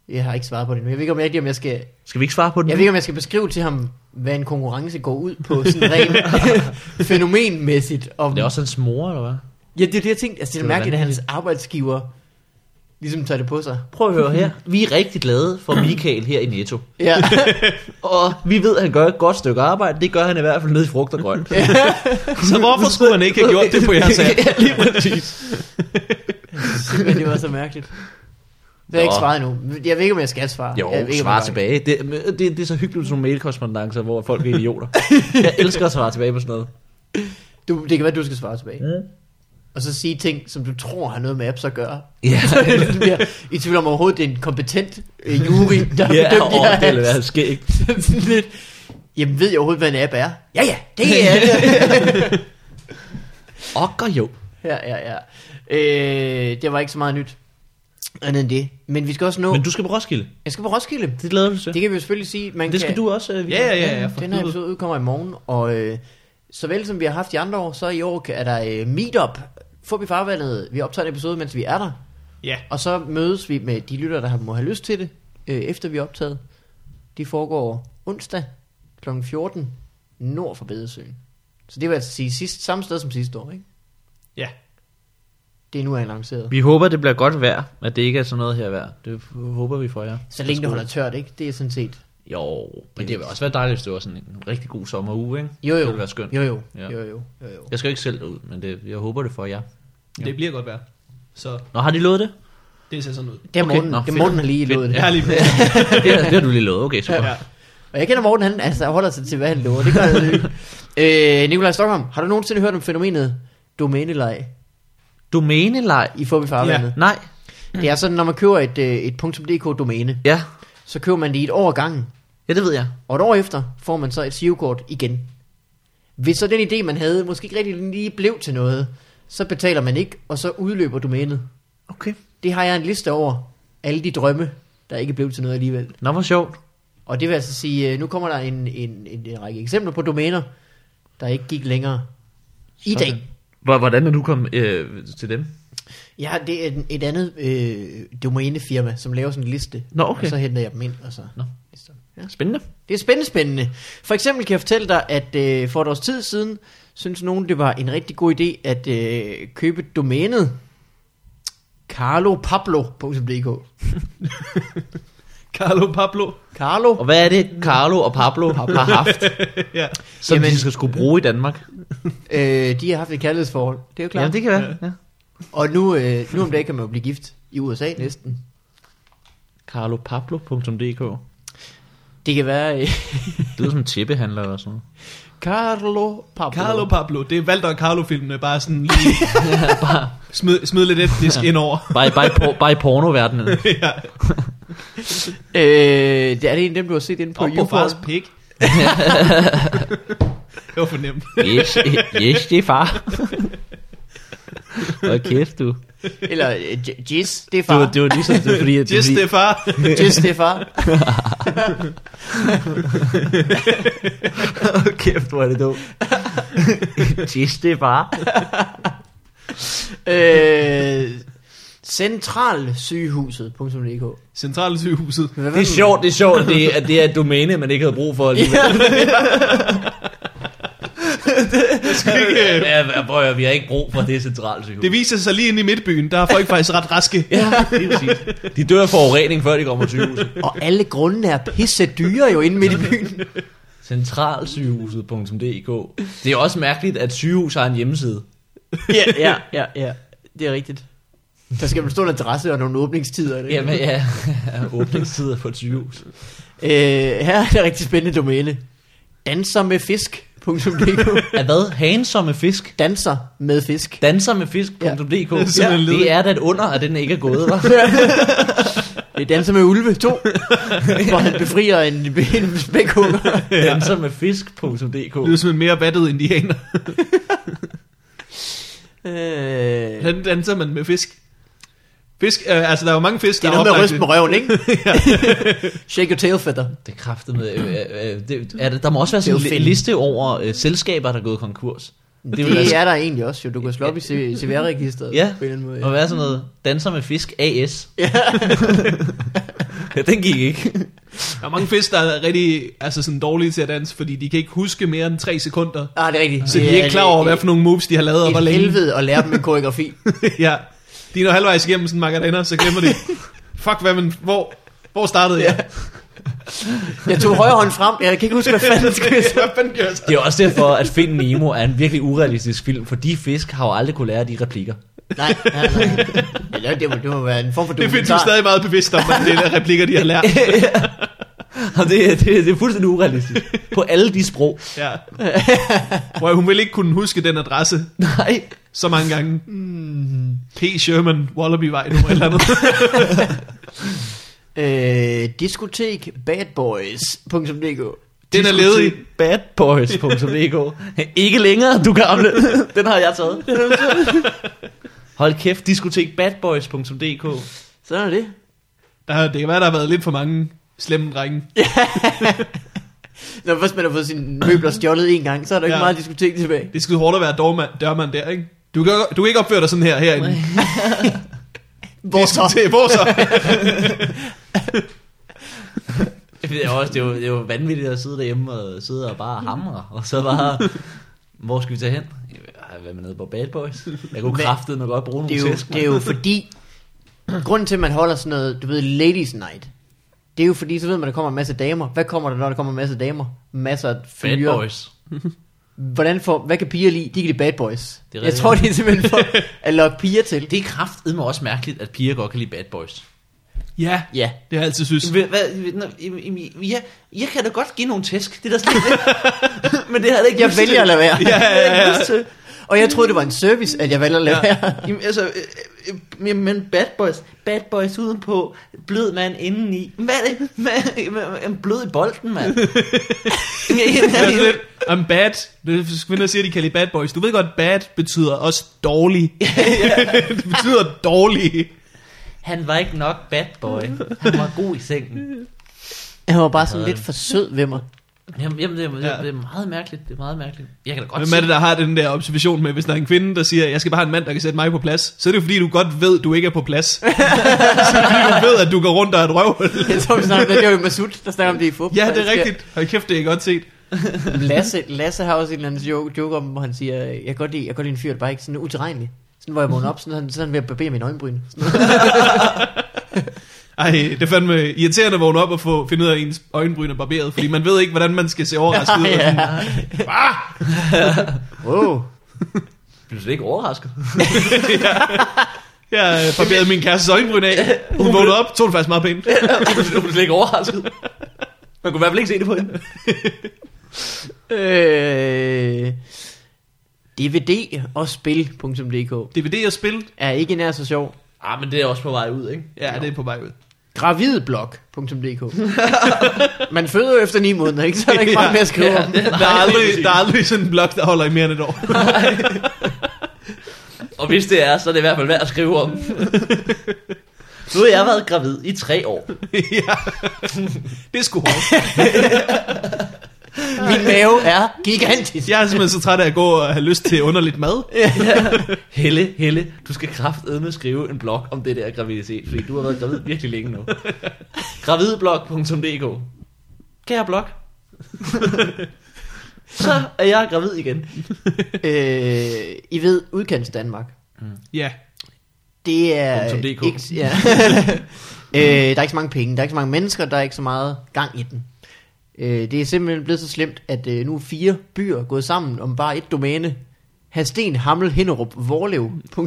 Jeg har ikke svaret på det nu. Jeg ved ikke, om jeg, om jeg skal
Skal vi ikke svare på den?
jeg ved ikke, om jeg skal beskrive til ham, hvad en konkurrence går ud på, sådan
<laughs>
rent fænomenmæssigt. Og,
Det er også hans mor, eller hvad?
Ja, det er det, jeg tænkte. Altså, det er
Det er
mærkeligt, at
vanvittigt.
hans arbejdsgiver ligesom tager det på sig.
Prøv at høre her. Vi er rigtig glade for Michael her i Netto.
Ja,
Og vi ved, at han gør et godt stykke arbejde. Det gør han i hvert fald nede i frugt og <laughs> grønt.
Så hvorfor skulle man ikke have gjort det
<laughs>
på <laughs> jeres app?
lige præcis.
<laughs> men det var så mærkeligt. Det har jeg ikke
Nå.
svaret endnu. Jeg ved ikke, om jeg skal svare.
Jo,
jeg ved ikke, om
svar
jeg-
tilbage. Det, men øh, det, det, er så hyggeligt med sådan nogle mailkorrespondancer, hvor folk er <laughs> idioter. Jeg elsker at svare tilbage på sådan noget.
Du, det kan være, du skal svare
Mm.
tilbage. Og så sige ting, som du tror har noget med apps
<laughs>
at gøre. <laughs>
Ja,
Så du bliver i tvivl om overhovedet, det er en kompetent øh, jury, der har
ja
bedømt
og
de her
det ville
apps.
være skægt.
<laughs> Sådan lidt, Jamen ved jeg overhovedet, hvad en app er? Ja, ja, det er det.
<laughs> Okker jo.
Ja, ja, ja. Øh, det var ikke så meget nyt andet end det. Men vi skal også nå...
Men
Du...
du skal på Roskilde.
Jeg skal på Roskilde. Det,
Det lader du til.
det kan vi jo selvfølgelig sige. Man
Det skal
kan...
du også, øh,
Ja, ja, ja. ja for
Den her
helvede.
episode udkommer i morgen, og øh, såvel som vi har haft i andre år, så i år er der øh, meetup. Fup i farvandet. Vi optager en episode, mens vi er der.
Ja.
Og så mødes vi med de lytter, der har- må have lyst til det, øh, efter vi er optaget. De foregår onsdag kl. 14 nord for Bedesøen. Så det vil altså sige sidst, samme sted som sidste år, ikke?
Ja.
Det er nu er lanceret.
Vi håber, det bliver godt vejr, at det ikke er sådan noget her vejr. Det håber vi for jer.
Så længe det holder tørt, ikke? Det er sådan set...
Jo, men det vil også være dejligt, hvis det var sådan en rigtig god sommeruge, ikke?
Jo, jo.
Det ville være skønt.
Jo, jo.
Ja.
Jo, jo. jo, jo.
Jeg skal jo ikke selv ud, men det, jeg håber det for jer.
Det bliver godt vejr. Så
Nå, har de lovet det?
det ser sådan ud.
Det er
Okay,
Morten,
nå,
det er
fedt.
Morten der lige
Fedt.
lovet det.
Ja, lige pludselig.
det, har, det har du lige lovet, okay, super.
Ja.
Og jeg kender Morten, han altså, holder sig til, hvad han lover. Det gør han jo
<laughs>
ikke. øh, Nikolaj Stockholm, har du nogensinde hørt om fænomenet domæneleg
Domænelej?
i Fobi Farvandet?
Nej.
Ja. Det er sådan, når man køber et, øh, et .dk domæne,
Ja.
så køber man det i et år ad gangen.
ja, det ved jeg.
Og et år efter får man så et SIO-kort igen. Hvis så den idé, man havde, måske ikke rigtig lige blev til noget, så betaler man ikke, og så udløber domænet.
Okay.
Det har jeg en liste over alle de drømme, der ikke blev til noget alligevel.
Nå, hvor sjovt.
Og det vil altså sige, øh, nu kommer der en, en, en, en række eksempler på domæner, der ikke gik længere i
Sådan.
dag.
Hvor- Hvordan er du kommet øh, til dem?
Ja, det er en- et andet øh, domænefirma, som laver sådan en liste.
Nå, okay.
Og så henter jeg dem ind, og så...
Nå.
Ja.
Spændende.
Det er spændende, spændende. For eksempel kan jeg fortælle dig, at øh, for et års tid siden, synes nogen, det var en rigtig god idé at øh, købe domænet carlopablo.dk
Carlo Pablo.
Carlo
Og hvad er det, Carlo og Pablo har <laughs> haft,
Ja.
som Jamen.
Jamen.
de skal skulle bruge i Danmark?
Øh, de har haft et kærlighedsforhold, det er jo klart.
Jamen, det kan være. Ja.
Og nu, øh, nu om dagen kan man jo blive gift i USA næsten.
CarloPablo.dk
Det kan være øh,
Det lyder som en tæppehandler eller sådan noget.
<laughs> Carlo Pablo.
Carlo Pablo. Det er Walter og Carlo-filmene. Bare sådan lige... smid, smid lidt et disk ind over.
Bare, i- bare, i por- bare i pornoverdenen.
<laughs> ja.
Øh, det er det en af dem, du har set inde på
Op på fars
YouPorn?
pik. det var for nemt.
Yes, eh, yes, det er far. Hvor kæft, du.
<laughs> Eller øh, J- Jizz, det er
Det
far.
var, det var ligesom, det var
<laughs>
fordi, at det,
Yes,
fordi,
det er far.
Jizz, det er far.
Hvor kæft, hvor er det dumt. <laughs> yes, det er far.
Øh, centralsygehuset.dk
Centralsygehuset.
Hvad var
Det er
den? <laughs>
sjovt, det er sjovt, at det, at det er et domæne, man ikke havde brug for. alligevel.
Ikke, øh,
Ja, prøv at høre, vi har ikke brug for det centrale sygehus.
Det viser sig lige inde i midtbyen. Der er folk faktisk ret raske.
Ja, det er præcis. De dør af forurening, før de kommer på sygehuset.
Og alle grundene er pisse dyre jo inde midt i byen.
Centralsygehuset.dk Det er også mærkeligt, at sygehus har en hjemmeside.
Ja, ja, ja, ja. Det er rigtigt. Der skal vel stå en adresse og nogle åbningstider. er det ikke?
Jamen ja, <laughs> åbningstider på et sygehus.
Øh, her er det rigtig spændende domæne. Danser med fisk.dk
Er hvad? Hansomme fisk?
Danser med fisk.
Danser med fisk.dk
Det er sådan en lyd.
Det er da et under, at den ikke er gået,
<laughs>
hva'?
Det er Danser med ulve 2, hvor han befrier en, en spækhugger.
Danser med fisk.dk
Det er som en mere vattet indianer.
Øh,
Hvordan danser man med fisk? Fisk, øh, altså der er jo mange fisk,
det er
der
noget med at ryste
oplagte-
med røven, ikke? Shake your tail feather.
Det kræfter med. Øh, øh, øh, det, er det, der må også være sådan
Det er jo
en
fedt.
li- liste over øh, selskaber, der er gået konkurs. Det,
Det,
vil være,
er der egentlig også jo. Du kan slå op i C- CVR-registeret
Ja.
på en eller anden måde.
må være sådan noget. Danser med fisk AS. Ja. den gik ikke.
Der er mange fisk, der er rigtig altså sådan dårlige til at danse, fordi de kan ikke huske mere end 3 sekunder.
Ah, det er rigtigt.
Så de
Det
er ikke klar over, hvad for nogle moves de har lavet, og hvor
et
længe.
helvede at lære dem en koreografi.
<laughs> ja. De er når halvvejs igennem sådan en margariner, så glemmer de. Fuck, hvad man, hvor, hvor startede <laughs> jeg?
Jeg tog højre hånd frem. Jeg kan ikke huske, hvad fanden skal jeg
Hvad fanden gør jeg så?
Det er også derfor, at Find Nemo er en virkelig urealistisk film, for de fisk har jo aldrig kunne lære de replikker.
Nej, nej, nej. Eller Det må, det må være en form for
Det findes de
dokumentar.
stadig meget bevidst om, at det er replikker, de har lært.
Og det, det, det er fuldstændig urealistisk. På alle de sprog.
Ja. Hvor hun vil ikke kunne huske den adresse
Nej.
så mange gange.
Hmm.
P. Sherman, Wallaby-vej, nummer et eller andet.
<laughs> Øh, diskotek badboys.dk
Den er ledig.
Badboys.dk Ikke længere, du gamle. Den har jeg taget. Hold kæft, diskotek badboys.dk
Sådan er det.
Der, det kan være, der har været lidt for mange slemme drenge.
Når først man har fået sine møbler stjålet en gang, så er der ikke
Ja.
meget diskotek tilbage.
Det skulle hårdt at være dørmand, dørmand der, ikke? Du kan, du kan ikke opføre dig sådan her herinde.
<laughs> Hvor så?
Til, hvor
<laughs>
så?
Det er, også, det, er jo, det er jo vanvittigt at sidde derhjemme og sidde og bare hamre, og så bare, hvor skal vi tage hen? Ej, Hvad med nede på Bad Boys? Jeg kunne
Men-
kraftede nok godt bruge
Det
nogle
er, jo,
tæsk.
det er jo fordi, grunden til, at man holder sådan noget, du ved, ladies night, det er jo fordi, så ved man, at der kommer en masse damer. Hvad kommer der, når der kommer en masse damer? Masser af
Bad
fyre.
Boys.
Hvordan får, hvad kan piger lide? De kan lide bad boys.
Det er
jeg
rigtigt.
tror, det er
<laughs>
simpelthen for at lokke piger til.
Det er kraftedme også mærkeligt, at piger godt kan lide Bad Boys.
Ja,
Ja.
det har jeg altid synes.
Hvad, hvad, nå, i- i- i- ja, jeg kan da godt give nogle tæsk, det er da slet ikke. <laughs> Men det har jeg da ikke
Jeg
lyst til.
vælger at lade være.
<laughs> Ja, ja, ja, ja.
Og jeg troede, det var en service, at jeg valgte at lade
Ja.
være.
Jamen, altså, øh, øh, øh, men bad boys, bad boys udenpå, blød mand indeni. Hvad er det? Hvad, hvad- en blød i bolden,
<laughs>
mand.
Det er sådan lidt, I'm bad. Det er kvinder, der siger, de kalder de bad boys. Du ved godt, bad betyder også dårlig. <laughs> det betyder dårlig.
Han var ikke nok bad boy. Han var god i sengen.
Han var bare sådan lidt for sød ved mig.
Jamen, jamen det, er, det,
Ja.
er, det er meget mærkeligt. Det er meget mærkeligt. Jeg kan da godt
Hvem er det, der har den der observation med, hvis der er en kvinde, der siger, jeg skal bare have en mand, der kan sætte mig på plads, så er det jo fordi, du godt ved, du ikke er på plads. så er det fordi, du ved, at du går rundt og er et røvhul.
Jeg tror, vi snakker om det. Det var jo Masud, der snakker om det i fodbold.
Ja, det er rigtigt. Hold kæft, det er godt set.
Lasse, Lasse har også en eller anden joke, joke om, hvor han siger, jeg kan godt lide, jeg kan godt lide en fyr, der bare ikke er sådan utilregnelig. Sådan, hvor jeg vågner op, sådan, sådan, sådan ved at barbere min øjenbryn. Sådan.
Ej, det er fandme irriterende at vågne op og få, finde ud af, at ens øjenbryn er barberet, fordi man ved ikke, hvordan man skal se overrasket ud.
<laughs> ja. Wow.
Bliver du slet ikke
<laughs>
overrasket?
Jeg øh, barberede min kærestes øjenbryn af. Hun vågnede op, tog det faktisk meget pænt.
du blev slet ikke overrasket. Man kunne i hvert fald ikke se det på hende.
Øh, DVD og spil.dk
DVD og spil,
er ikke nær så sjov.
Ah, men det er også på vej ud, ikke?
ja, det er på vej ud.
Gravidblog.dk Man føder jo efter 9 måneder, ikke? Så er der ikke meget mere at skrive
Ja,
om.
det er-
Der er, aldrig, der er aldrig sådan en blog, der holder i mere end et år. <laughs>
Og hvis det er, så er det i hvert fald værd at skrive
<laughs>
om. nu har jeg været gravid i tre år.
ja. Det er sgu hårdt.
Min mave er gigantisk.
Jeg er simpelthen så træt af at gå og have lyst til underligt mad.
Helle, Helle, du skal kraftedme skrive en blog om det der graviditet, fordi du har været gravid virkelig længe <laughs> nu. Gravidblog.dk Kære blog. <laughs> så er jeg gravid igen.
Øh, I ved, udkants Danmark.
Ja.
Det er
.dk.
ikke, ja. <laughs> øh, der er ikke så mange penge, der er ikke så mange mennesker, der er ikke så meget gang i den. Øh, det er simpelthen blevet så slemt, at øh, nu er fire byer gået sammen om bare et domæne. Hansten Hammel Hinderup Vorlev.dk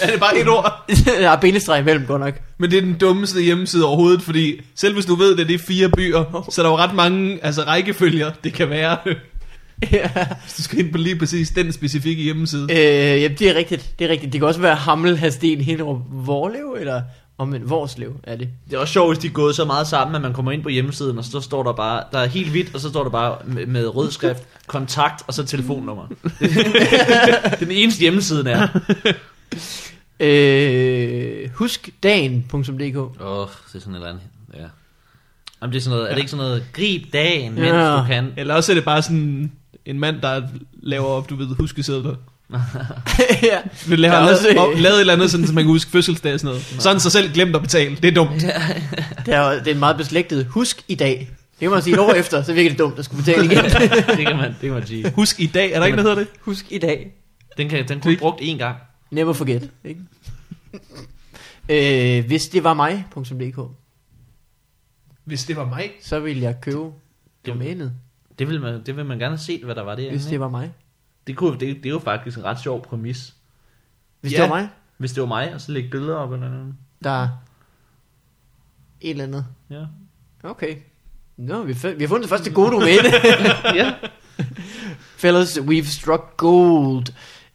Er det bare et ord?
Der er bindestreg imellem, godt nok.
Men det er den dummeste hjemmeside overhovedet, fordi selv hvis du ved, det er de fire
<laughs>
byer, så er der jo ret mange altså, rækkefølger, det kan være. <laughs>
ja.
Hvis du skal ind på lige præcis den specifikke hjemmeside.
<laughs> Øh, ja, det er rigtigt, det er rigtigt. Det kan også være Hammel, Hansten, Hinderup, Vorlev, eller om en Vorslev er det.
Det er også sjovt, hvis de er gået så meget sammen, at man kommer ind på hjemmesiden, og så står der bare, der er helt hvidt, og så står der bare med, med rød skrift, kontakt, og så <laughs> telefonnummer. den eneste hjemmesiden er.
Øh, huskdagen.dk
Åh, oh, det er sådan et eller andet. Ja. Jamen, det er, sådan noget, er det ikke sådan noget, grib dagen, mens
Ja.
du kan?
Eller også er det bare sådan en mand, der laver op, du ved, huskesedler.
<laughs> ja.
Vil lave,
Der er også-
lavet, op, lavet et eller andet, sådan, så man kan huske fødselsdag og sådan noget. Så har han sig selv glemt at betale. Det er dumt.
Det er, jo- det er meget beslægtet. Husk i dag. Det kan man sige et år efter, så virker det dumt at skulle betale <laughs> igen.
<laughs> det, kan man, det kan man sige.
Husk i dag, er der ikke, der hedder det?
Husk i dag.
Den, kan, den kunne brugt én gang.
Never forget. Ikke? øh, hvis det var mig.dk,
Hvis det var mig.
så ville jeg købe domænet.
Det vil man, det vil man gerne have set, hvad der var
Hvis
derinde.
det
ikke?
var mig.
Det, kunne, det, det er jo faktisk en ret sjov præmis.
Hvis
Ja.
det var mig,
Hvis det var mig, og så lægge billeder op eller noget.
der er et eller andet.
Ja.
Okay. Nå, vi, fa- vi har fundet det første gode domæne. <laughs>
ja.
Fellas, we've struck gold.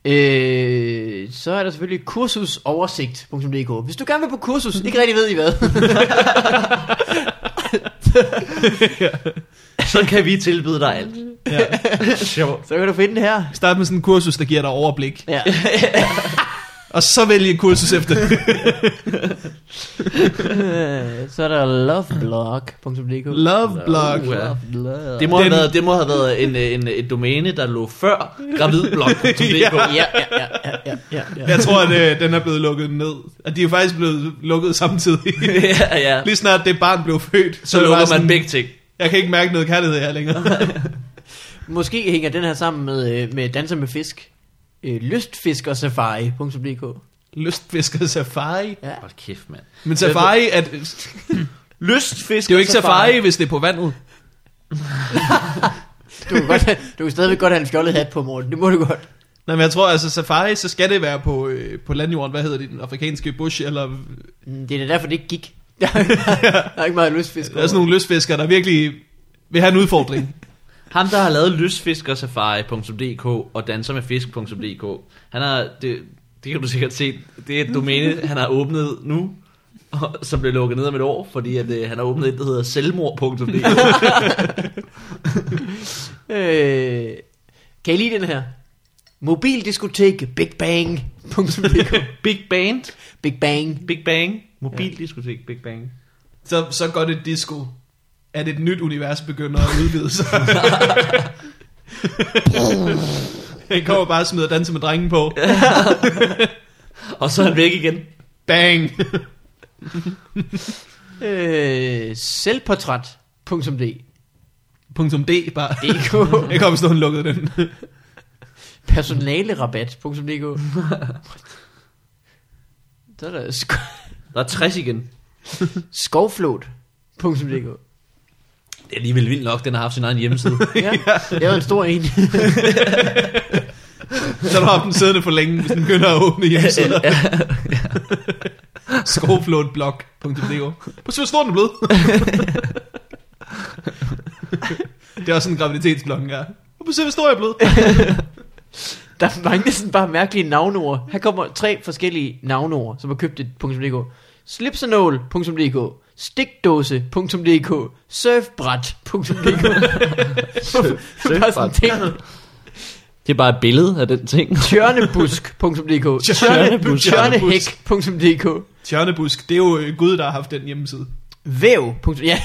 Øh, så er der selvfølgelig kursusoversigt.dk Hvis du gerne vil på kursus, ikke rigtig ved I hvad
<laughs>
<laughs>
Så kan vi tilbyde dig alt.
Ja.
Sjovt.
Så kan du finde det her
Start med sådan en kursus, der giver dig overblik.
<laughs> ja.
Og så vælge et kursus
<laughs>
efter.
Øh, Så er der loveblog.dk
Loveblog.
Uh, ja.
Loveblog.
Det må, have
Den-
været, det må have været en, øh, en, øh, et domæne, der lå før gravidblog.dk.
Ja.
Ja, ja, ja, ja, ja, ja, ja.
Jeg tror, at øh, den er blevet lukket ned. Og de er jo faktisk blevet lukket
<laughs>
samtidig.
<laughs> ja, ja.
Lige snart det barn blev født,
Så
er det bare
lukker
sådan,
man begge ting.
Jeg kan ikke mærke noget kærlighed her
<laughs>
længere.
Måske hænger den her sammen med, øh, med Danser med Fisk øh, Lystfiskersafari.dk
Lystfisker safari.
ja.
Hold kæft, mand.
Men safari, at,
Lystfisk.
det er jo ikke safari, hvis det er på vandet.
du, kan godt, du kan stadigvæk godt have en fjollet hat på, Morten Det må du godt
Nej, men jeg tror, altså safari, så skal det være på, øh, på landjorden. Hvad hedder det? Den afrikanske bush? Eller,
Mm, Det er da derfor, det ikke gik Der er- der er ikke meget lystfisk
der er sådan nogle lystfiskere, der virkelig vil have en udfordring.
Ham, der har lavet lystfiskersafari.dk og dansermedfisk.dk, han har, det, det kan du sikkert se, det er et domæne, han har åbnet nu, og, som blev lukket ned om et år, fordi at, øh, han har åbnet et, der hedder selvmord.dk.
Øh, kan I lide den her? Mobildiskotek Big Bang. <laughs>
Big Band,
Big Bang.
Big Bang, mobildiskotek, Big Bang.
Så, så går det disco, at et nyt univers begynder at udvide sig. Han kommer bare og smider danse med drengen på.
Og så er han væk igen.
Bang!
Øh, selvportræt.dk
Punktum D bare. Jeg kommer stå, hun lukkede den.
Personalerabat.dk Så er der sk-
Der er 60 igen.
skovflot.dk
Det er alligevel vildt nok, den har haft sin egen hjemmeside.
Ja, det er jo en stor en.
Så har du haft den siddende for længe, hvis den begynder at åbne hjemmesider. Skovflåtblog.dk Prøv at se, hvor stor den er blevet. Det er også sådan en graviditetsblog, ja. Prøv at se, hvor stor jeg er blevet.
Der mangler sådan bare mærkelige navnord. Her kommer tre forskellige navnord, som har købt et .dk. Slipsenål.dk Stikdåse.dk
<laughs>
Surfbræt.dk Bare sådan ting.
Det er bare et billede af den ting.
Tjørnebusk.dk Tjørne- Tjørnehæk.dk
Tjørnebusk, det er jo øh, Gud, der har haft den hjemmeside. <laughs>
Væv. Ja.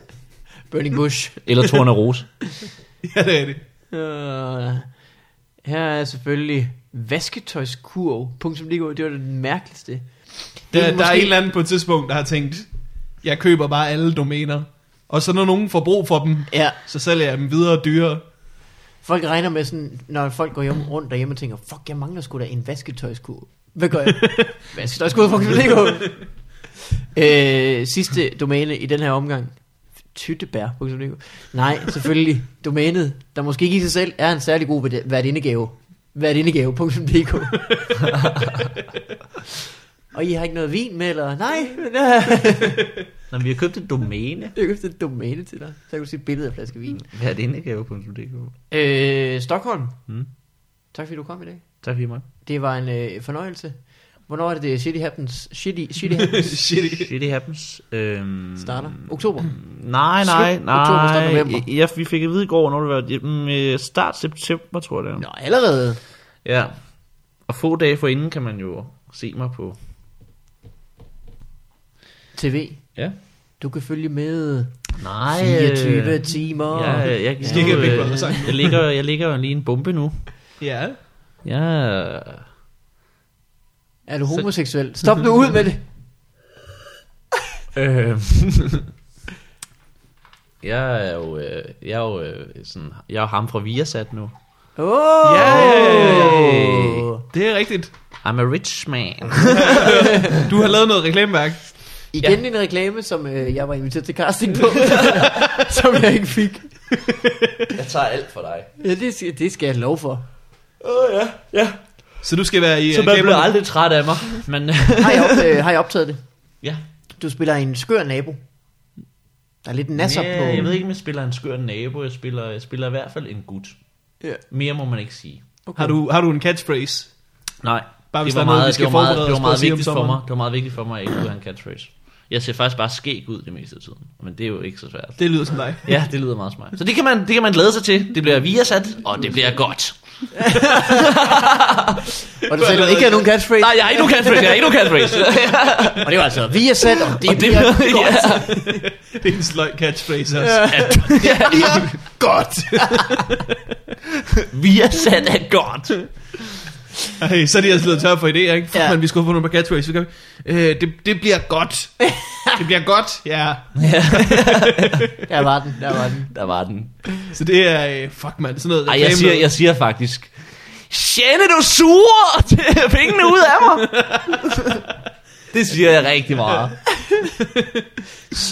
<laughs> Burning Bush.
Eller Torne Rose.
Ja, det er det.
Uh, her er selvfølgelig vasketøjskurv.dk Det var det mærkeligste. Det
Der, der er
måske-
en eller anden på et tidspunkt, der har tænkt, jeg køber bare alle domæner. Og så når nogen får brug for dem,
Ja,
så sælger jeg dem videre dyrere. <laughs>
Folk regner med sådan, når folk går hjem rundt derhjemme og tænker, fuck, jeg mangler sgu da en vasketøjskur. Hvad <laughs> gør jeg? <laughs> vasketøjskur, fuck, det går. Øh, sidste domæne i den her omgang. Tyttebær.dk Nej, selvfølgelig. Domænet, der måske ikke i sig selv er en særlig god værdi- værtindegave. Værtindegave.dk <laughs> Og I har ikke noget vin med, eller? <laughs> Nej,
Når vi har købt et domæne.
jeg købte et domæne til dig. Så kan du se et billede af en flaske vin.
Hvad er det indegave.dk?
Øh, Stockholm.
Mm.
Tak fordi du kom i dag.
Tak for mig.
Det var en øh, fornøjelse. Hvornår er det, det Shitty Happens? Shitty, shitty happens
<laughs> Shitty.
Shit, it happens. Øhm,
starter? Oktober.
Nej, nej,
Slut oktober, start
nej.
november.
Ja, vi fik at vide i går, når det var jamen, øh, start september, tror jeg det er.
Nå, allerede.
Ja. Og få dage forinden kan man jo se mig på.
TV.
Ja.
Du kan følge med
Nej.
24
øh,
timer.
Ja, jeg, jeg,
Skal ikke have Big
jeg,
Brother-sang.
jeg, ligger, jeg ligger jo lige en bombe nu.
Ja.
Ja,
Er du homoseksuel? Stop nu ud med det.
øh, <laughs> jeg er jo, øh, jeg er jo øh, sådan, jeg er jo ham fra Viasat nu.
Oh!
Yay!
Det er rigtigt.
I'm a rich man.
Du har lavet noget reklameværk.
Igen en reklame, som øh, jeg var inviteret til casting på, <laughs> som jeg ikke fik.
Jeg tager alt for dig.
Ja, det, skal- det skal jeg lov for.
Åh oh, ja, ja.
Så du skal være i øh,
Så man bliver
reklamerne.
aldrig træt af mig. <laughs> Men
Har jeg, op, øh, har jeg optaget det?
ja.
Du spiller en skør nabo. Der er lidt nasser
ja,
på.
Jeg ved ikke, om jeg spiller en skør nabo. Jeg spiller, jeg spiller i hvert fald en gut.
Ja.
Mere må man ikke sige.
Okay.
Har du, har du en catchphrase?
Nej.
Bare hvis
det var
der er noget, vi
meget,
skal
det var meget,
forberede
det var
os på at
meget
sige om
vigtigt for
sommeren.
mig. Det var meget vigtigt for mig, at jeg ikke kunne have en catchphrase. Jeg ser faktisk bare skæg ud det meste af tiden. Men det er jo ikke så svært.
Det lyder som dig.
Ja, det lyder meget smart. Så det kan man, det kan man glæde sig til. Det bliver viasat, og det bliver godt.
Og du sagde, at du ikke havde nogen catchphrase.
Nej, jeg har ikke nogen catchphrase. Jeg har ikke nogen <laughs> catchphrase.
Og det var altså, vi er sat, og det,
Og det
og det bliver
bliver-
godt.
Det er en sløj catchphrase også. Ja.
godt.
<laughs> Viasat er godt.
Ej, så er de altså blevet tør for idéer, ikke? Fuck,
Ja.
ja. man, vi skulle have fundet på catchphrase. Vi kan... øh, det, det bliver godt. det bliver godt, ja.
Der var den, der var den.
Der var den.
Så det er, øh, fuck man, sådan noget.
Ej, jeg
reklame-
siger, jeg siger faktisk, Sjæne, du <laughs> suger pengene ud af mig. <laughs> det siger jeg rigtig meget.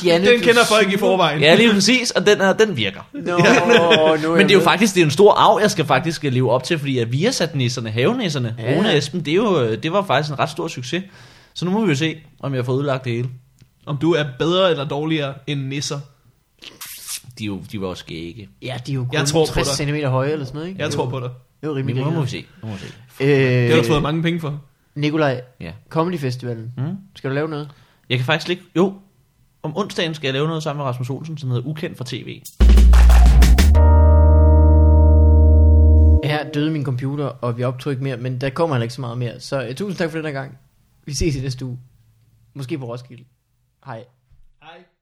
Janne,
Den
du
kender folk
suger.
i forvejen.
Ja, lige præcis, og den, er, den virker.
Nå, nu jeg
Men det er jo
med.
faktisk det er en stor arv, jeg skal faktisk øh, leve op til, fordi at vi har sat nisserne, havenæsserne,
Ja.
ja. Rune og Esben, det, er jo, øh, det var faktisk en ret stor succes. Så nu må vi jo se, om jeg får udlagt det hele.
Om du er bedre eller dårligere end nisser.
De, er jo, de var jo skægge.
Ja, de er jo kun
Jeg tror på
60
dig.
cm høje eller sådan noget, ikke?
Jeg tror på dig.
Det er jo rimelig
Men nu må vi
grineren.
se. Nu må vi se.
Det har du fået
Øh,
mange penge for.
Nikolaj,
Ja.
Comedy Festivalen.
Mm.
Skal du lave noget?
Jeg kan faktisk ikke... Jo, om onsdagen skal jeg lave noget sammen med Rasmus Olsen, som hedder Ukendt fra TV.
Her døde min computer, og vi optog ikke mere, men der kommer heller ikke så meget mere. Så øh, uh, tusind tak for den her gang. Vi ses i næste uge. Måske på Roskilde. Hej.
Hej.